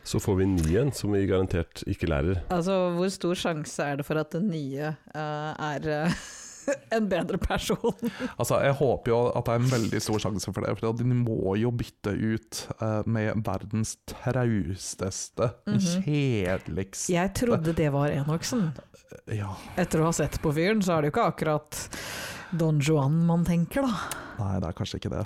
[SPEAKER 2] så får vi en ny en som vi garantert ikke lærer.
[SPEAKER 4] Altså, hvor stor sjanse er det for at den nye eh, er eh, en bedre person?
[SPEAKER 3] Altså, jeg håper jo at det er en veldig stor sjanse for det, for de må jo bytte ut eh, med verdens trausteste, kjedeligste
[SPEAKER 4] Jeg trodde det var Enoksen.
[SPEAKER 3] Ja,
[SPEAKER 4] Etter å ha sett på fyren, så er det jo ikke akkurat Don Juan man tenker, da.
[SPEAKER 3] nei, det er kanskje ikke det.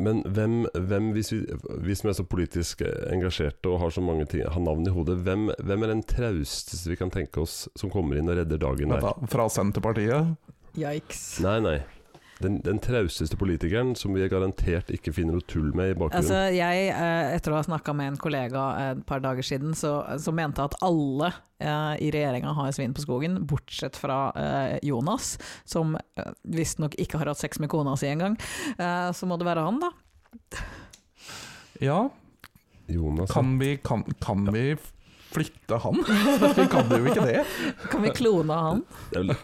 [SPEAKER 2] Men hvem, hvem hvis, vi, vi som er så politisk eh, engasjerte og har så mange ting, har navn i hodet, hvem, hvem er den trausteste vi kan tenke oss som kommer inn og redder dagen
[SPEAKER 3] Vent
[SPEAKER 2] der?
[SPEAKER 3] da, fra Senterpartiet?
[SPEAKER 4] Yikes.
[SPEAKER 2] Nei, nei. Den, den trausteste politikeren som vi garantert ikke finner noe tull med i bakgrunnen.
[SPEAKER 4] Altså, jeg, eh, etter å ha snakka med en kollega eh, et par dager siden, så, så mente jeg at alle eh, i regjeringa har svin på skogen, bortsett fra eh, Jonas, som eh, visstnok ikke har hatt sex med kona si engang. Eh, så må det være han, da.
[SPEAKER 3] Ja,
[SPEAKER 4] Altså,
[SPEAKER 2] Jonas, ja.
[SPEAKER 3] kan vi, kan, kan vi flytte han? vi kan jo ikke det.
[SPEAKER 4] Kan vi klone han?
[SPEAKER 2] det er vel,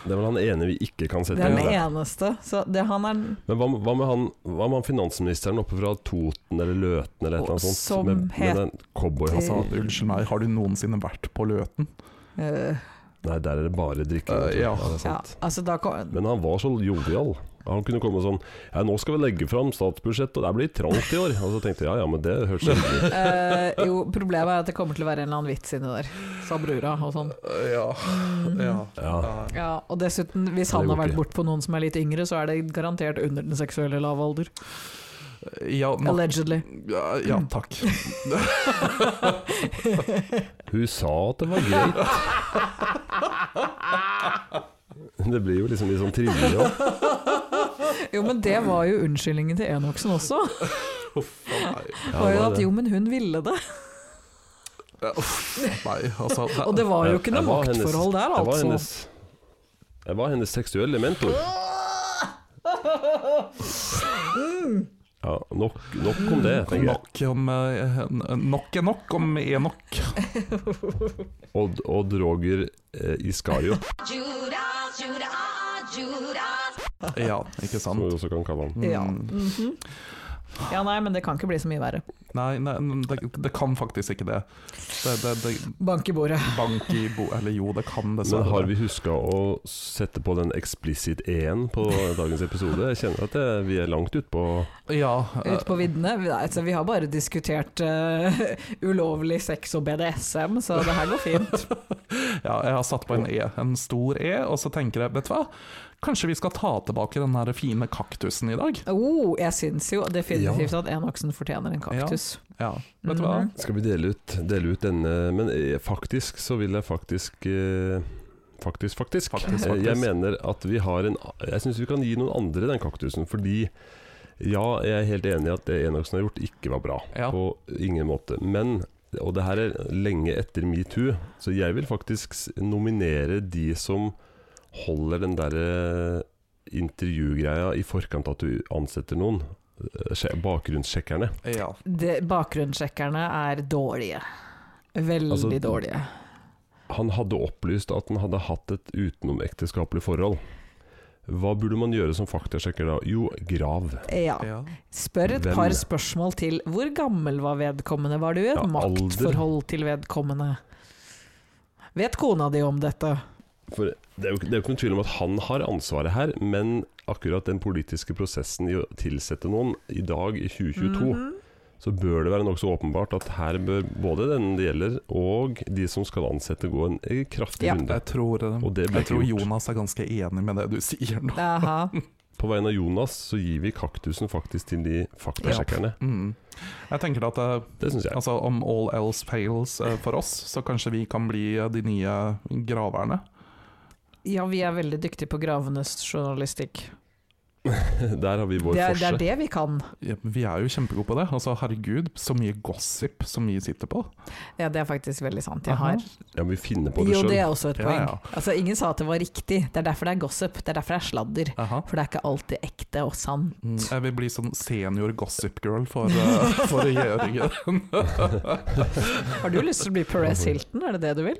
[SPEAKER 2] det er vel han ene vi ikke kan
[SPEAKER 4] Det
[SPEAKER 2] sette
[SPEAKER 4] er
[SPEAKER 2] inn
[SPEAKER 4] den
[SPEAKER 2] der.
[SPEAKER 4] eneste. Så det, han er
[SPEAKER 2] Men hva, hva, med han, hva med han finansministeren oppe fra Toten eller Løten eller et eller annet sånt?
[SPEAKER 4] Som
[SPEAKER 2] med, med
[SPEAKER 4] het-
[SPEAKER 2] den cowboyhatten?
[SPEAKER 3] Altså, unnskyld meg, har du noensinne vært på Løten?
[SPEAKER 4] eh,
[SPEAKER 2] Nei, der er det bare drikking.
[SPEAKER 3] Eh, ja.
[SPEAKER 2] det er
[SPEAKER 4] Ja,
[SPEAKER 2] sant.
[SPEAKER 4] altså da kom,
[SPEAKER 2] Men han var så jovial. Han kunne komme sånn Ja, nå skal vi legge fram statsbudsjettet, og det blir trangt i år. Og så tenkte jeg ja, ja, men det høres hyggelig ut.
[SPEAKER 4] eh, Jo, problemet er at det kommer til å være en eller annen vits inni der, sa brura og sånn.
[SPEAKER 3] Eh, ja. ja.
[SPEAKER 2] Ja.
[SPEAKER 3] Eh,
[SPEAKER 4] Ja, og dessuten, hvis
[SPEAKER 2] Ja, det
[SPEAKER 4] han har
[SPEAKER 2] går
[SPEAKER 4] vært
[SPEAKER 2] ikke.
[SPEAKER 4] bortpå noen som er litt yngre, så er det garantert under den seksuelle lavalder.
[SPEAKER 3] ja, na-
[SPEAKER 4] Allegedly.
[SPEAKER 3] Ja, ja, takk.
[SPEAKER 2] Hun sa at det var greit. Det blir jo liksom litt sånn trivelig òg.
[SPEAKER 4] Jo, men det var jo unnskyldningen til Enoksen også.
[SPEAKER 3] Uff a meg.
[SPEAKER 2] Ja,
[SPEAKER 4] var
[SPEAKER 2] det
[SPEAKER 4] jo
[SPEAKER 2] var
[SPEAKER 4] at
[SPEAKER 2] det.
[SPEAKER 4] jo, men hun ville det.
[SPEAKER 3] Ja, Uff a meg. Altså, det-
[SPEAKER 4] Og det var jo
[SPEAKER 2] Jeg-
[SPEAKER 4] ikke
[SPEAKER 2] jeg
[SPEAKER 4] noe
[SPEAKER 2] var hennes-
[SPEAKER 4] maktforhold der,
[SPEAKER 2] Jeg var
[SPEAKER 4] altså.
[SPEAKER 2] hennes, jeg var hennes seksuelle mentor. Ja, nok, nok om det, tenker jeg.
[SPEAKER 3] Nok, om, eh, nok er nok om Enok.
[SPEAKER 2] Odd, Odd Roger eh, Iskariot,
[SPEAKER 5] Judas, Judas, Judas.
[SPEAKER 3] Ja, ikke
[SPEAKER 2] som vi
[SPEAKER 3] sant? Mm.
[SPEAKER 2] også kan kalle han.
[SPEAKER 4] Ja. Mhm. ja, nei, men det kan ikke bli så mye verre.
[SPEAKER 3] Nei, nei det, det kan faktisk ikke det. Det, det, det
[SPEAKER 4] Bank i bordet.
[SPEAKER 3] Bank i bo... Eller jo, det kan
[SPEAKER 2] Men
[SPEAKER 3] dessverre.
[SPEAKER 2] har vi huska å sette på den explicit E-en på dagens episode? Jeg kjenner at det, vi er langt utpå.
[SPEAKER 3] Ja. eh,
[SPEAKER 4] Ute på viddene. Vi- Altså, vi har bare diskutert eh, ulovlig sex og BDSM, så det her går fint.
[SPEAKER 3] Ja, jeg har satt på en E, en stor E, og så tenker jeg, vet du hva? Kanskje vi skal ta tilbake den her fine kaktusen i dag?
[SPEAKER 4] Oh, jeg syns jo definitivt at Enoksen fortjener en kaktus.
[SPEAKER 3] Ja, vet du hva?
[SPEAKER 4] Mhm.
[SPEAKER 2] Skal vi dele ut, dele ut denne Men eh, faktisk så vil jeg faktisk eh, Faktisk, faktisk.
[SPEAKER 3] Faktisk,
[SPEAKER 2] Eh, Jeg
[SPEAKER 3] faktisk.
[SPEAKER 2] mener at vi har en Jeg syns vi kan gi noen andre den kaktusen, fordi ja, jeg er helt enig i at det Enoksen har gjort, ikke var bra.
[SPEAKER 3] Ja.
[SPEAKER 2] På ingen måte. Men, og det her er lenge etter metoo, så jeg vil faktisk s- nominere de som holder den derre intervjugreia i forkant at du ansetter noen. Eh, sje- Bakgrunnssjekkerne.
[SPEAKER 3] Ja.
[SPEAKER 4] Det- Bakgrunnssjekkerne er dårlige. Veldig
[SPEAKER 2] Altså,
[SPEAKER 4] dårlige.
[SPEAKER 2] Han hadde opplyst at han hadde hatt et utenomekteskapelig forhold. Hva burde man gjøre som faktasjekker da? Jo, grav.
[SPEAKER 4] Ja.
[SPEAKER 3] ja.
[SPEAKER 4] Spør et
[SPEAKER 2] Hvem-
[SPEAKER 4] par spørsmål til. Hvor gammel var vedkommende? Var du i et
[SPEAKER 2] Ja, alder.
[SPEAKER 4] maktforhold til vedkommende? Vet kona di om dette?
[SPEAKER 2] For det er, jo, ikke- det er jo ikke noen tvil om at han har ansvaret her,
[SPEAKER 4] Mhm.
[SPEAKER 2] men akkurat den politiske prosessen i å tilsette noen i dag, i 2022, så bør det være nokså åpenbart at her bør både den det gjelder, og de som skal ansette, gå en eh, kraftig
[SPEAKER 4] Ja.
[SPEAKER 2] runde.
[SPEAKER 3] Jeg tror, eh,
[SPEAKER 2] Og det ble
[SPEAKER 3] jeg tror
[SPEAKER 2] ikke gjort.
[SPEAKER 3] Jonas er ganske enig med det du sier nå.
[SPEAKER 4] Aha.
[SPEAKER 2] På vegne av Jonas så gir vi kaktusen faktisk til de faktasjekkerne.
[SPEAKER 3] Mm. Jeg tenker at eh,
[SPEAKER 2] Det syns jeg.
[SPEAKER 3] altså, om all else fails eh, for oss, så kanskje vi kan bli eh, de nye graverne.
[SPEAKER 4] Ja, vi er veldig dyktige på gravenes journalistikk.
[SPEAKER 2] Der har vi vår
[SPEAKER 4] Det er, det er
[SPEAKER 2] forse.
[SPEAKER 4] det vi kan.
[SPEAKER 3] Ja, Vi er jo kjempegode på det. Altså, herregud, så mye gossip som vi sitter på.
[SPEAKER 4] Ja, det er faktisk veldig sant. Jeg
[SPEAKER 3] Aha.
[SPEAKER 4] har.
[SPEAKER 2] Ja, men vi finner på det
[SPEAKER 4] Jo,
[SPEAKER 2] sjøl.
[SPEAKER 4] det er også et
[SPEAKER 3] Ja,
[SPEAKER 4] poeng.
[SPEAKER 3] ja.
[SPEAKER 4] Altså, ingen sa at det var riktig. Det er derfor det er gossip. Det er derfor det er sladder.
[SPEAKER 3] Aha.
[SPEAKER 4] For det er ikke alltid ekte og sant.
[SPEAKER 3] Mm, Jeg vil bli sånn senior gossip girl for, eh, for regjeringen.
[SPEAKER 4] Har du lyst til å bli Perez Hilton, er det det du vil?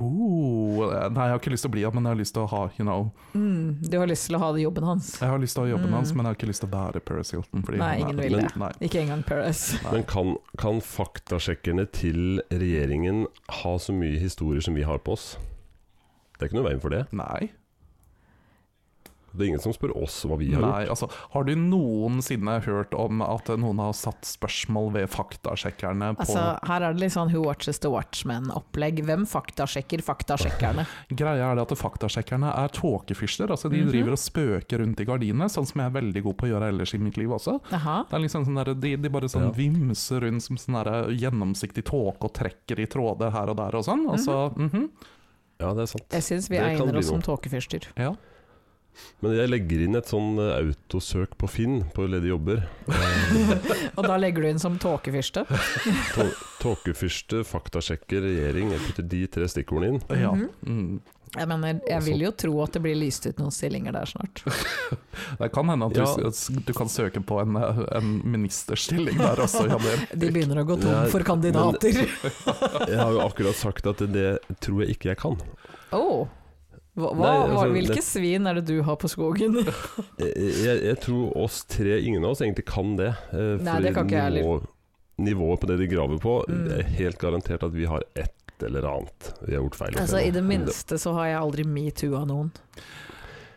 [SPEAKER 3] Oh, nei, jeg har ikke lyst til å bli han, men jeg har lyst til å ha you know,
[SPEAKER 4] Mm, du har lyst til å ha det i jobben hans.
[SPEAKER 3] Jeg har lyst til å ha jobben
[SPEAKER 4] Mm.
[SPEAKER 3] hans, men jeg har ikke lyst til å være Paris Hilton. Fordi
[SPEAKER 4] Nei,
[SPEAKER 3] han
[SPEAKER 4] ingen
[SPEAKER 3] er,
[SPEAKER 4] vil
[SPEAKER 3] men-
[SPEAKER 4] det.
[SPEAKER 3] Nei.
[SPEAKER 4] Ikke engang Perez.
[SPEAKER 2] Men kan, kan faktasjekkerne til regjeringen ha så mye historier som vi har på oss? Det er ikke noe veien for det.
[SPEAKER 3] Nei.
[SPEAKER 2] Det er ingen som spør oss hva vi har gjort.
[SPEAKER 3] Nei, altså, har du noensinne hørt om at noen har satt spørsmål ved faktasjekkerne på
[SPEAKER 4] Altså, her er det litt sånn Who watches the watchman-opplegg. Hvem faktasjekker faktasjekkerne?
[SPEAKER 3] Greia er det at faktasjekkerne er tåkefyrster. Altså, de
[SPEAKER 4] Mhm.
[SPEAKER 3] driver og spøker rundt i gardinene, sånn som jeg er veldig god på å gjøre ellers i mitt liv også.
[SPEAKER 4] Aha.
[SPEAKER 3] Det er liksom sånn der, de, de bare sånn
[SPEAKER 2] Ja.
[SPEAKER 3] vimser rundt som sånn der gjennomsiktig tåke og trekker i tråder her og der og sånn. Og så, mhm,
[SPEAKER 2] Ja, det er sant.
[SPEAKER 4] Jeg syns vi
[SPEAKER 2] Det kan
[SPEAKER 4] egner
[SPEAKER 2] bli
[SPEAKER 4] oss som
[SPEAKER 2] noe.
[SPEAKER 4] tåkefyrster.
[SPEAKER 3] ja.
[SPEAKER 2] Men jeg legger inn et sånn eh, autosøk på Finn på ledige jobber.
[SPEAKER 4] Og da legger du inn som tåkefyrste.
[SPEAKER 2] Tå- Tåkefyrste, faktasjekker, regjering. Jeg putter de tre stikkordene inn.
[SPEAKER 3] ja.
[SPEAKER 4] Mhm.
[SPEAKER 3] Mm.
[SPEAKER 4] Jeg mener,
[SPEAKER 2] Altså-
[SPEAKER 4] jeg vil jo tro at det blir lyst ut noen stillinger der snart.
[SPEAKER 3] Det kan hende at du,
[SPEAKER 2] Ja.
[SPEAKER 3] s- du kan søke på en, eh, en ministerstilling der også, Janne.
[SPEAKER 4] De begynner å gå tom
[SPEAKER 2] Ja,
[SPEAKER 4] for kandidater.
[SPEAKER 2] Jeg har jo akkurat sagt at det tror jeg ikke jeg kan.
[SPEAKER 4] Oh. Hva, hva,
[SPEAKER 2] Nei,
[SPEAKER 4] hva,
[SPEAKER 2] altså,
[SPEAKER 4] hvilke
[SPEAKER 2] det-
[SPEAKER 4] svin er det du har på skogen?
[SPEAKER 2] Jeg, Eh, jeg, jeg tror oss tre, ingen av oss egentlig kan det. eh,
[SPEAKER 4] Nei,
[SPEAKER 2] fordi
[SPEAKER 4] det kan ikke jeg heller.
[SPEAKER 2] nivå- Nivået på det de graver på,
[SPEAKER 4] Mm.
[SPEAKER 2] det er helt garantert at vi har ett eller annet vi har gjort feil.
[SPEAKER 4] Altså, I det minste så har jeg aldri metoo-a noen.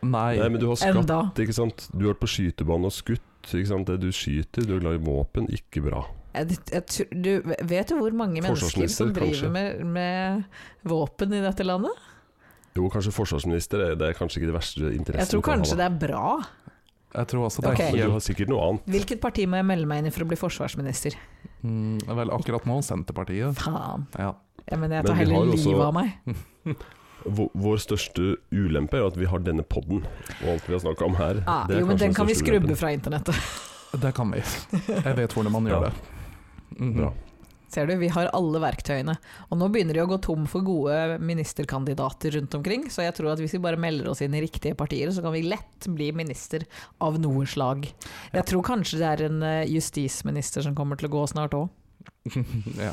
[SPEAKER 3] Nei.
[SPEAKER 2] Nei, men du har skatt,
[SPEAKER 4] Enda.
[SPEAKER 2] ikke sant. Du har vært på skytebanen og skutt. Ikke sant? Det du skyter, du er glad i våpen, ikke bra.
[SPEAKER 4] Jeg, jeg, tror- du, vet du hvor mange mennesker
[SPEAKER 2] Forsvarsminister,
[SPEAKER 4] som driver
[SPEAKER 2] kanskje.
[SPEAKER 4] med, med våpen i dette landet?
[SPEAKER 2] Jo, kanskje forsvarsminister, er- det er kanskje ikke det verste interessen
[SPEAKER 4] Jeg tror kanskje det er bra.
[SPEAKER 3] Jeg tror også det
[SPEAKER 4] Ok.
[SPEAKER 3] er
[SPEAKER 2] Men du
[SPEAKER 3] helt
[SPEAKER 2] har sikkert noe annet.
[SPEAKER 4] Hvilket parti må jeg melde meg inn i for å bli forsvarsminister?
[SPEAKER 3] mm, Vel, akkurat nå Senterpartiet.
[SPEAKER 4] Faen.
[SPEAKER 3] Ja.
[SPEAKER 4] Jeg mener, jeg
[SPEAKER 2] Men
[SPEAKER 4] tar
[SPEAKER 2] vi
[SPEAKER 4] heller
[SPEAKER 2] har
[SPEAKER 4] livet
[SPEAKER 2] også-
[SPEAKER 4] av meg.
[SPEAKER 2] Vå- Vår største ulempe er jo at vi har denne podden, og alt vi har snakka om her.
[SPEAKER 4] Ah,
[SPEAKER 2] det er
[SPEAKER 4] jo, men
[SPEAKER 2] kanskje
[SPEAKER 4] den kan vi
[SPEAKER 2] største
[SPEAKER 4] skrubbe
[SPEAKER 2] ulempen.
[SPEAKER 4] fra internettet.
[SPEAKER 3] Det kan vi. Jeg vet hvordan man gjør
[SPEAKER 2] Ja.
[SPEAKER 3] det. Mhm.
[SPEAKER 2] Bra.
[SPEAKER 4] Ser du, vi har alle verktøyene. Og nå begynner de å gå tom for gode ministerkandidater rundt omkring, så jeg tror at hvis vi bare melder oss inn i riktige partier, så kan vi lett bli minister av noe slag. Jeg tror kanskje det er en eh, justisminister som kommer til å gå snart òg.
[SPEAKER 3] ja.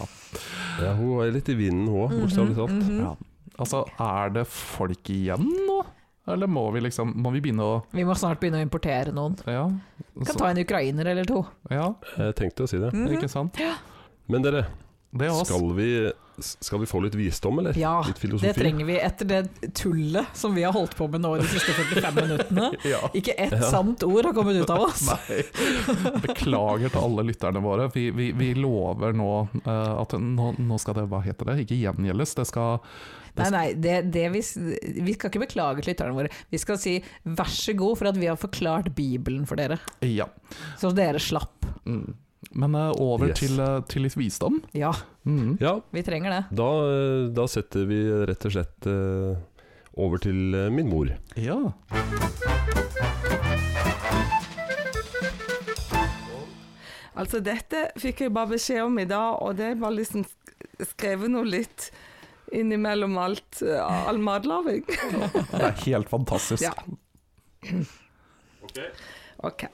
[SPEAKER 2] Ja, hun er litt i vinden, hun
[SPEAKER 4] Mhm.
[SPEAKER 2] òg, bokstavelig talt.
[SPEAKER 3] ja. Altså, er det folk igjen nå? Eller må vi liksom Må vi begynne å
[SPEAKER 4] Vi må snart begynne å importere noen.
[SPEAKER 3] Ja.
[SPEAKER 4] Vi kan
[SPEAKER 3] så-
[SPEAKER 4] ta en ukrainer eller to.
[SPEAKER 3] ja
[SPEAKER 2] Jeg tenkte å si det.
[SPEAKER 4] Mhm.
[SPEAKER 3] ikke sant?
[SPEAKER 2] Men dere,
[SPEAKER 3] Det er oss.
[SPEAKER 2] skal vi, skal vi få litt visdom, eller?
[SPEAKER 4] Ja,
[SPEAKER 2] Litt filosofi?
[SPEAKER 4] det trenger vi etter det tullet som vi har holdt på med nå de siste 45 minuttene.
[SPEAKER 3] Ja.
[SPEAKER 4] Ikke ett sant ord har kommet ut av oss.
[SPEAKER 3] Nei. Beklager til alle lytterne våre. Vi, vi, vi lover nå eh, at nå, nå skal det, hva heter det, ikke gjengjeldes. Det skal
[SPEAKER 4] Nei, nei, det, det vi, s- vi skal ikke beklage til lytterne våre. Vi skal si vær så god for at vi har forklart Bibelen for dere,
[SPEAKER 3] Ja.
[SPEAKER 4] så dere slapp.
[SPEAKER 3] Mm. Men eh, over
[SPEAKER 2] Yes.
[SPEAKER 3] til, eh, til litt visdom.
[SPEAKER 4] Ja,
[SPEAKER 3] Mm.
[SPEAKER 2] Ja,
[SPEAKER 4] vi trenger det.
[SPEAKER 2] da, eh, da setter vi rett og slett eh, over til eh, min mor.
[SPEAKER 3] Ja.
[SPEAKER 6] Altså, dette fikk jeg bare beskjed om i dag, og det er bare liksom sk- skrevet noe litt innimellom alt, eh, all matlaging.
[SPEAKER 3] Det er helt fantastisk.
[SPEAKER 6] Ja. OK.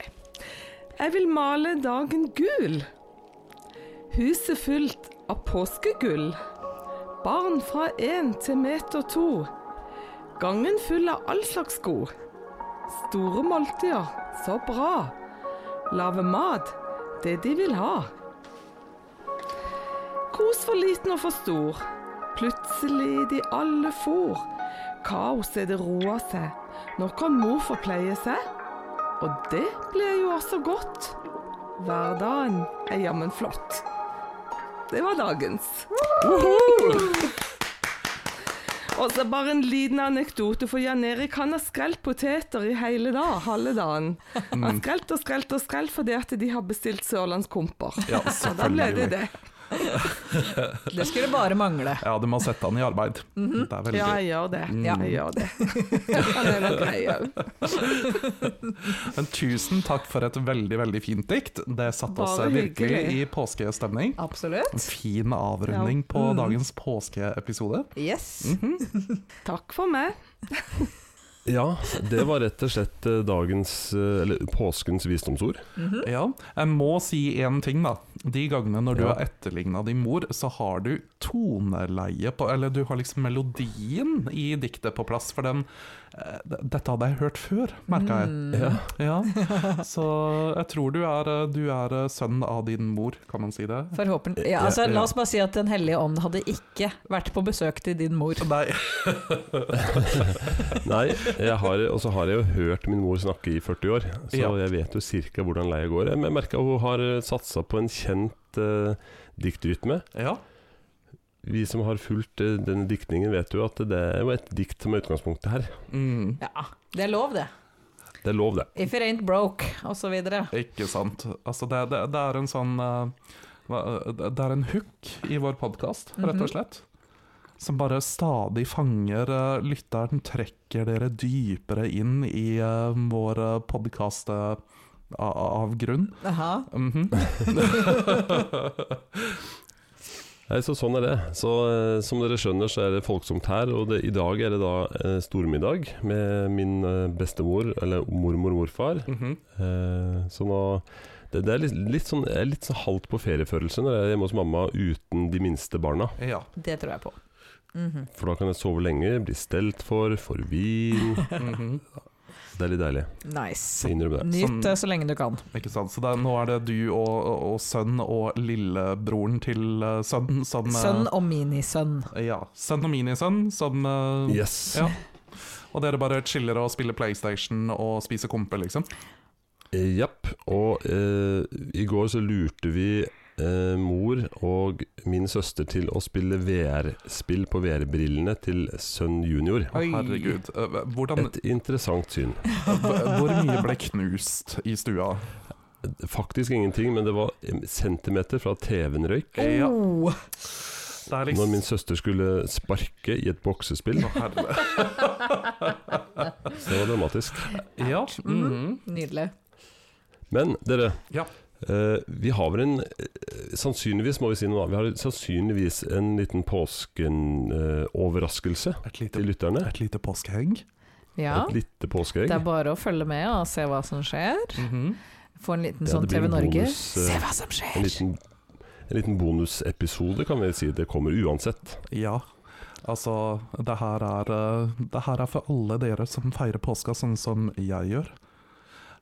[SPEAKER 6] Jeg vil male dagen gul. Huset fullt av påskegull. Barn fra én til meter to. Gangen full av all slags sko. Store måltider, så bra. Lage mat, det de vil ha. Kos for liten og for stor. Plutselig de alle for. Kaos er det roa seg. Nå kan mor få pleie seg. Og det blir jo også godt. Hverdagen er jammen flott. Det var dagens. Og så bare en liten anekdote, for Jan Erik han har skrelt poteter i hele dag, halve dagen. Han har skrelt og skrelt og skrelt fordi at de har bestilt sørlandskomper.
[SPEAKER 3] Ja,
[SPEAKER 6] Og da ble
[SPEAKER 3] selvfølgelig.
[SPEAKER 6] det det.
[SPEAKER 4] Det skulle bare mangle.
[SPEAKER 3] Ja, du må sette han i arbeid. Det er veldig
[SPEAKER 6] Mhm. Ja, jeg gjør det.
[SPEAKER 4] Ja.
[SPEAKER 6] Jeg gjør det. Han er nok grei òg.
[SPEAKER 3] Men tusen takk for et veldig, veldig fint dikt. Det satte oss
[SPEAKER 6] Bare
[SPEAKER 3] virkelig i
[SPEAKER 6] hyggelig.
[SPEAKER 3] påskestemning. En
[SPEAKER 4] Absolutt.
[SPEAKER 3] fin avrunding på
[SPEAKER 6] Mm.
[SPEAKER 3] dagens påskeepisode.
[SPEAKER 4] Yes.
[SPEAKER 6] Takk for meg.
[SPEAKER 2] Ja, det var rett og slett eh, dagens, eh, eller påskens visdomsord.
[SPEAKER 3] Ja, jeg må si én ting, da. De gangene når du
[SPEAKER 2] Ja.
[SPEAKER 3] har etterligna din mor, så har du toneleie på Eller du har liksom melodien i diktet på plass, for den eh, d- Dette hadde jeg hørt før, merka jeg.
[SPEAKER 2] Mm. Ja.
[SPEAKER 3] Ja. Så jeg tror du er, eh, du er eh, sønn av din mor, kan man si det?
[SPEAKER 4] Forhåpentlig. Ja,
[SPEAKER 2] Ja,
[SPEAKER 4] altså,
[SPEAKER 3] ja.
[SPEAKER 4] la oss bare si at Den hellige ånd hadde ikke vært på besøk til din mor.
[SPEAKER 3] Nei.
[SPEAKER 2] Nei, jeg har, og så har jeg jo hørt min mor snakke i 40 år, så
[SPEAKER 3] Ja.
[SPEAKER 2] jeg vet jo cirka hvordan leia går. Jeg merka hun har eh, satsa på en kjent eh, diktrytme.
[SPEAKER 3] Ja.
[SPEAKER 2] Vi som har fulgt eh, denne diktningen, vet jo at det er jo et dikt som er utgangspunktet her.
[SPEAKER 3] Mm.
[SPEAKER 4] Ja, det er lov, det.
[SPEAKER 2] Det er lov, det.
[SPEAKER 4] If it ain't broke, osv.
[SPEAKER 3] Ikke sant. Altså, det, det, det er en sånn eh, hva- Det er en hook i vår podkast, rett og slett. Som bare stadig fanger eh, lytteren, trekker dere dypere inn i eh, vår uh, podkast av grunn.
[SPEAKER 4] Aha.
[SPEAKER 3] Mhm.
[SPEAKER 2] Nei, så sånn er det. Så eh, som dere skjønner, så er det folksomt her. Og det, i dag er det da eh, stormiddag med min eh, bestemor, eller mormor og morfar.
[SPEAKER 3] Mhm.
[SPEAKER 2] Eh, så nå det, det er litt, litt sånn, jeg er litt sånn halvt på feriefølelse når jeg er hjemme hos mamma uten de minste barna.
[SPEAKER 3] Ja.
[SPEAKER 4] Det tror jeg på. Mhm.
[SPEAKER 2] For da kan jeg sove lenge, bli stelt for, får vin.
[SPEAKER 3] mhm.
[SPEAKER 2] Det er litt deilig.
[SPEAKER 4] Nice.
[SPEAKER 2] Jeg innrømmer det.
[SPEAKER 4] Nyt det så lenge du kan.
[SPEAKER 3] Ikke sant. Så det, er- nå er det du og, og- og sønn og lillebroren til uh, sønn som eh,
[SPEAKER 4] Sønn og minisønn.
[SPEAKER 3] Ja. Sønn og minisønn som eh,
[SPEAKER 2] Yes.
[SPEAKER 3] Ja. Og dere bare chiller og spiller PlayStation og spiser kompe, liksom?
[SPEAKER 2] Eh, Japp. Og eh, i går så lurte vi eh, mor og min søster til å spille VR-spill på VR-brillene til sønn junior.
[SPEAKER 3] Å, Herregud. Eh, hva- Hvordan,
[SPEAKER 2] Et interessant syn.
[SPEAKER 3] hv- hvor mye ble knust i stua?
[SPEAKER 2] Faktisk ingenting, men det var eh, centimeter fra TV-en røyk.
[SPEAKER 3] Ja,
[SPEAKER 4] Oh.
[SPEAKER 3] det er
[SPEAKER 2] Når min
[SPEAKER 3] liksom
[SPEAKER 2] søster skulle sparke i et boksespill.
[SPEAKER 3] Å, herre.
[SPEAKER 2] Det var dramatisk.
[SPEAKER 3] Ja.
[SPEAKER 4] Mm.
[SPEAKER 3] mhm.
[SPEAKER 4] Nydelig.
[SPEAKER 2] Men dere,
[SPEAKER 3] Ja.
[SPEAKER 2] eh, vi har vel en eh, Sannsynligvis må vi si noe annet. Vi har sannsynligvis en liten påskenoverraskelse
[SPEAKER 3] Et
[SPEAKER 2] til
[SPEAKER 3] lite,
[SPEAKER 2] lytterne.
[SPEAKER 3] et lite påskeheng.
[SPEAKER 4] Ja.
[SPEAKER 2] Et lite
[SPEAKER 4] Det
[SPEAKER 2] påskeegg.
[SPEAKER 4] er bare å følge med og se hva som skjer.
[SPEAKER 3] Mhm.
[SPEAKER 4] Få en liten
[SPEAKER 2] Ja,
[SPEAKER 4] sånn
[SPEAKER 2] det blir
[SPEAKER 4] TV
[SPEAKER 2] en
[SPEAKER 4] Norge.
[SPEAKER 2] bonus, eh,
[SPEAKER 4] Se hva som
[SPEAKER 2] En
[SPEAKER 4] skjer!
[SPEAKER 2] liten, en liten bonusepisode kan vi si. Det kommer uansett.
[SPEAKER 3] Ja. Altså, det her, er, eh, det her er for alle dere som feirer påska sånn som jeg gjør.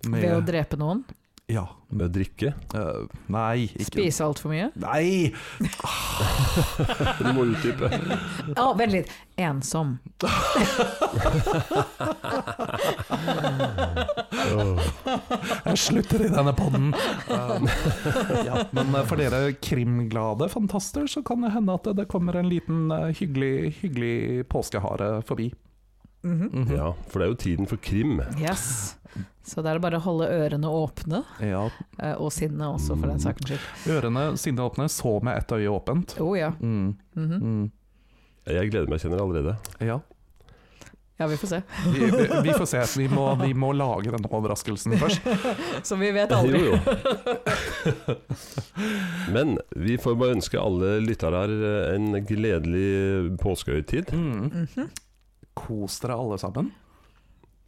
[SPEAKER 4] Ved å drepe noen.
[SPEAKER 3] Ja.
[SPEAKER 2] Med å drikke.
[SPEAKER 3] eh, nei, ikke
[SPEAKER 4] Spise altfor mye.
[SPEAKER 3] Nei!
[SPEAKER 2] Du må utdype.
[SPEAKER 4] Å, vent litt. Ensom.
[SPEAKER 3] Jeg slutter i denne podden. Um, ja, men eh, for dere krimglade fantaster, så kan det hende at det kommer en liten eh, hyggelig, hyggelig påskehare forbi. Mhm.
[SPEAKER 2] Ja, for det er jo tiden for krim.
[SPEAKER 4] Yes. Så da er det bare å holde ørene åpne,
[SPEAKER 3] Ja,
[SPEAKER 4] eh, og sinnet også, for den saks skyld.
[SPEAKER 3] Ørene sine åpne, så med ett øye åpent.
[SPEAKER 4] Å ja.
[SPEAKER 3] Mm.
[SPEAKER 4] Mhm.
[SPEAKER 3] Mm.
[SPEAKER 2] Jeg gleder meg, kjenner jeg allerede.
[SPEAKER 3] Ja.
[SPEAKER 4] Ja, vi får se.
[SPEAKER 3] Vi, vi, vi får se. Vi må, vi må lage denne overraskelsen først.
[SPEAKER 4] Så vi vet aldri.
[SPEAKER 2] Jo, jo. Men vi får bare ønske alle lyttere her eh, en gledelig påskehøytid.
[SPEAKER 3] Mm.
[SPEAKER 4] Mhm.
[SPEAKER 3] Kos dere alle sammen.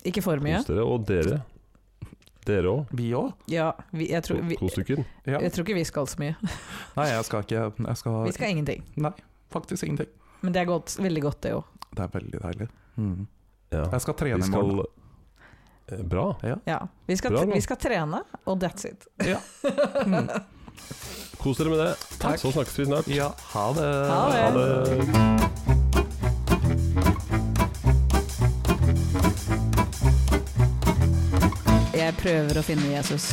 [SPEAKER 4] Ikke for mye.
[SPEAKER 2] Kos dere, og dere. Dere òg.
[SPEAKER 3] Vi òg.
[SPEAKER 4] Ja, vi, jeg, tror, vi,
[SPEAKER 2] Kos dere.
[SPEAKER 3] Ja.
[SPEAKER 4] jeg tror ikke vi skal så mye.
[SPEAKER 3] Nei, jeg skal ikke jeg skal,
[SPEAKER 4] Vi skal ingenting.
[SPEAKER 3] Nei, faktisk ingenting.
[SPEAKER 4] Men det er godt, veldig godt, det òg.
[SPEAKER 3] Det er veldig deilig. Mm.
[SPEAKER 2] Ja.
[SPEAKER 3] Jeg skal trene
[SPEAKER 2] Vi
[SPEAKER 3] i
[SPEAKER 2] skal
[SPEAKER 3] morgen.
[SPEAKER 2] Eh, Bra.
[SPEAKER 4] Ja. Vi, skal
[SPEAKER 2] Bra,
[SPEAKER 4] tre-
[SPEAKER 2] da.
[SPEAKER 4] vi skal trene, og that's it.
[SPEAKER 2] Kos dere med det.
[SPEAKER 3] Takk.
[SPEAKER 2] Så snakkes vi snart.
[SPEAKER 3] Ja, ha det.
[SPEAKER 4] Ha det.
[SPEAKER 2] Ha det.
[SPEAKER 4] Jeg prøver å finne Jesus.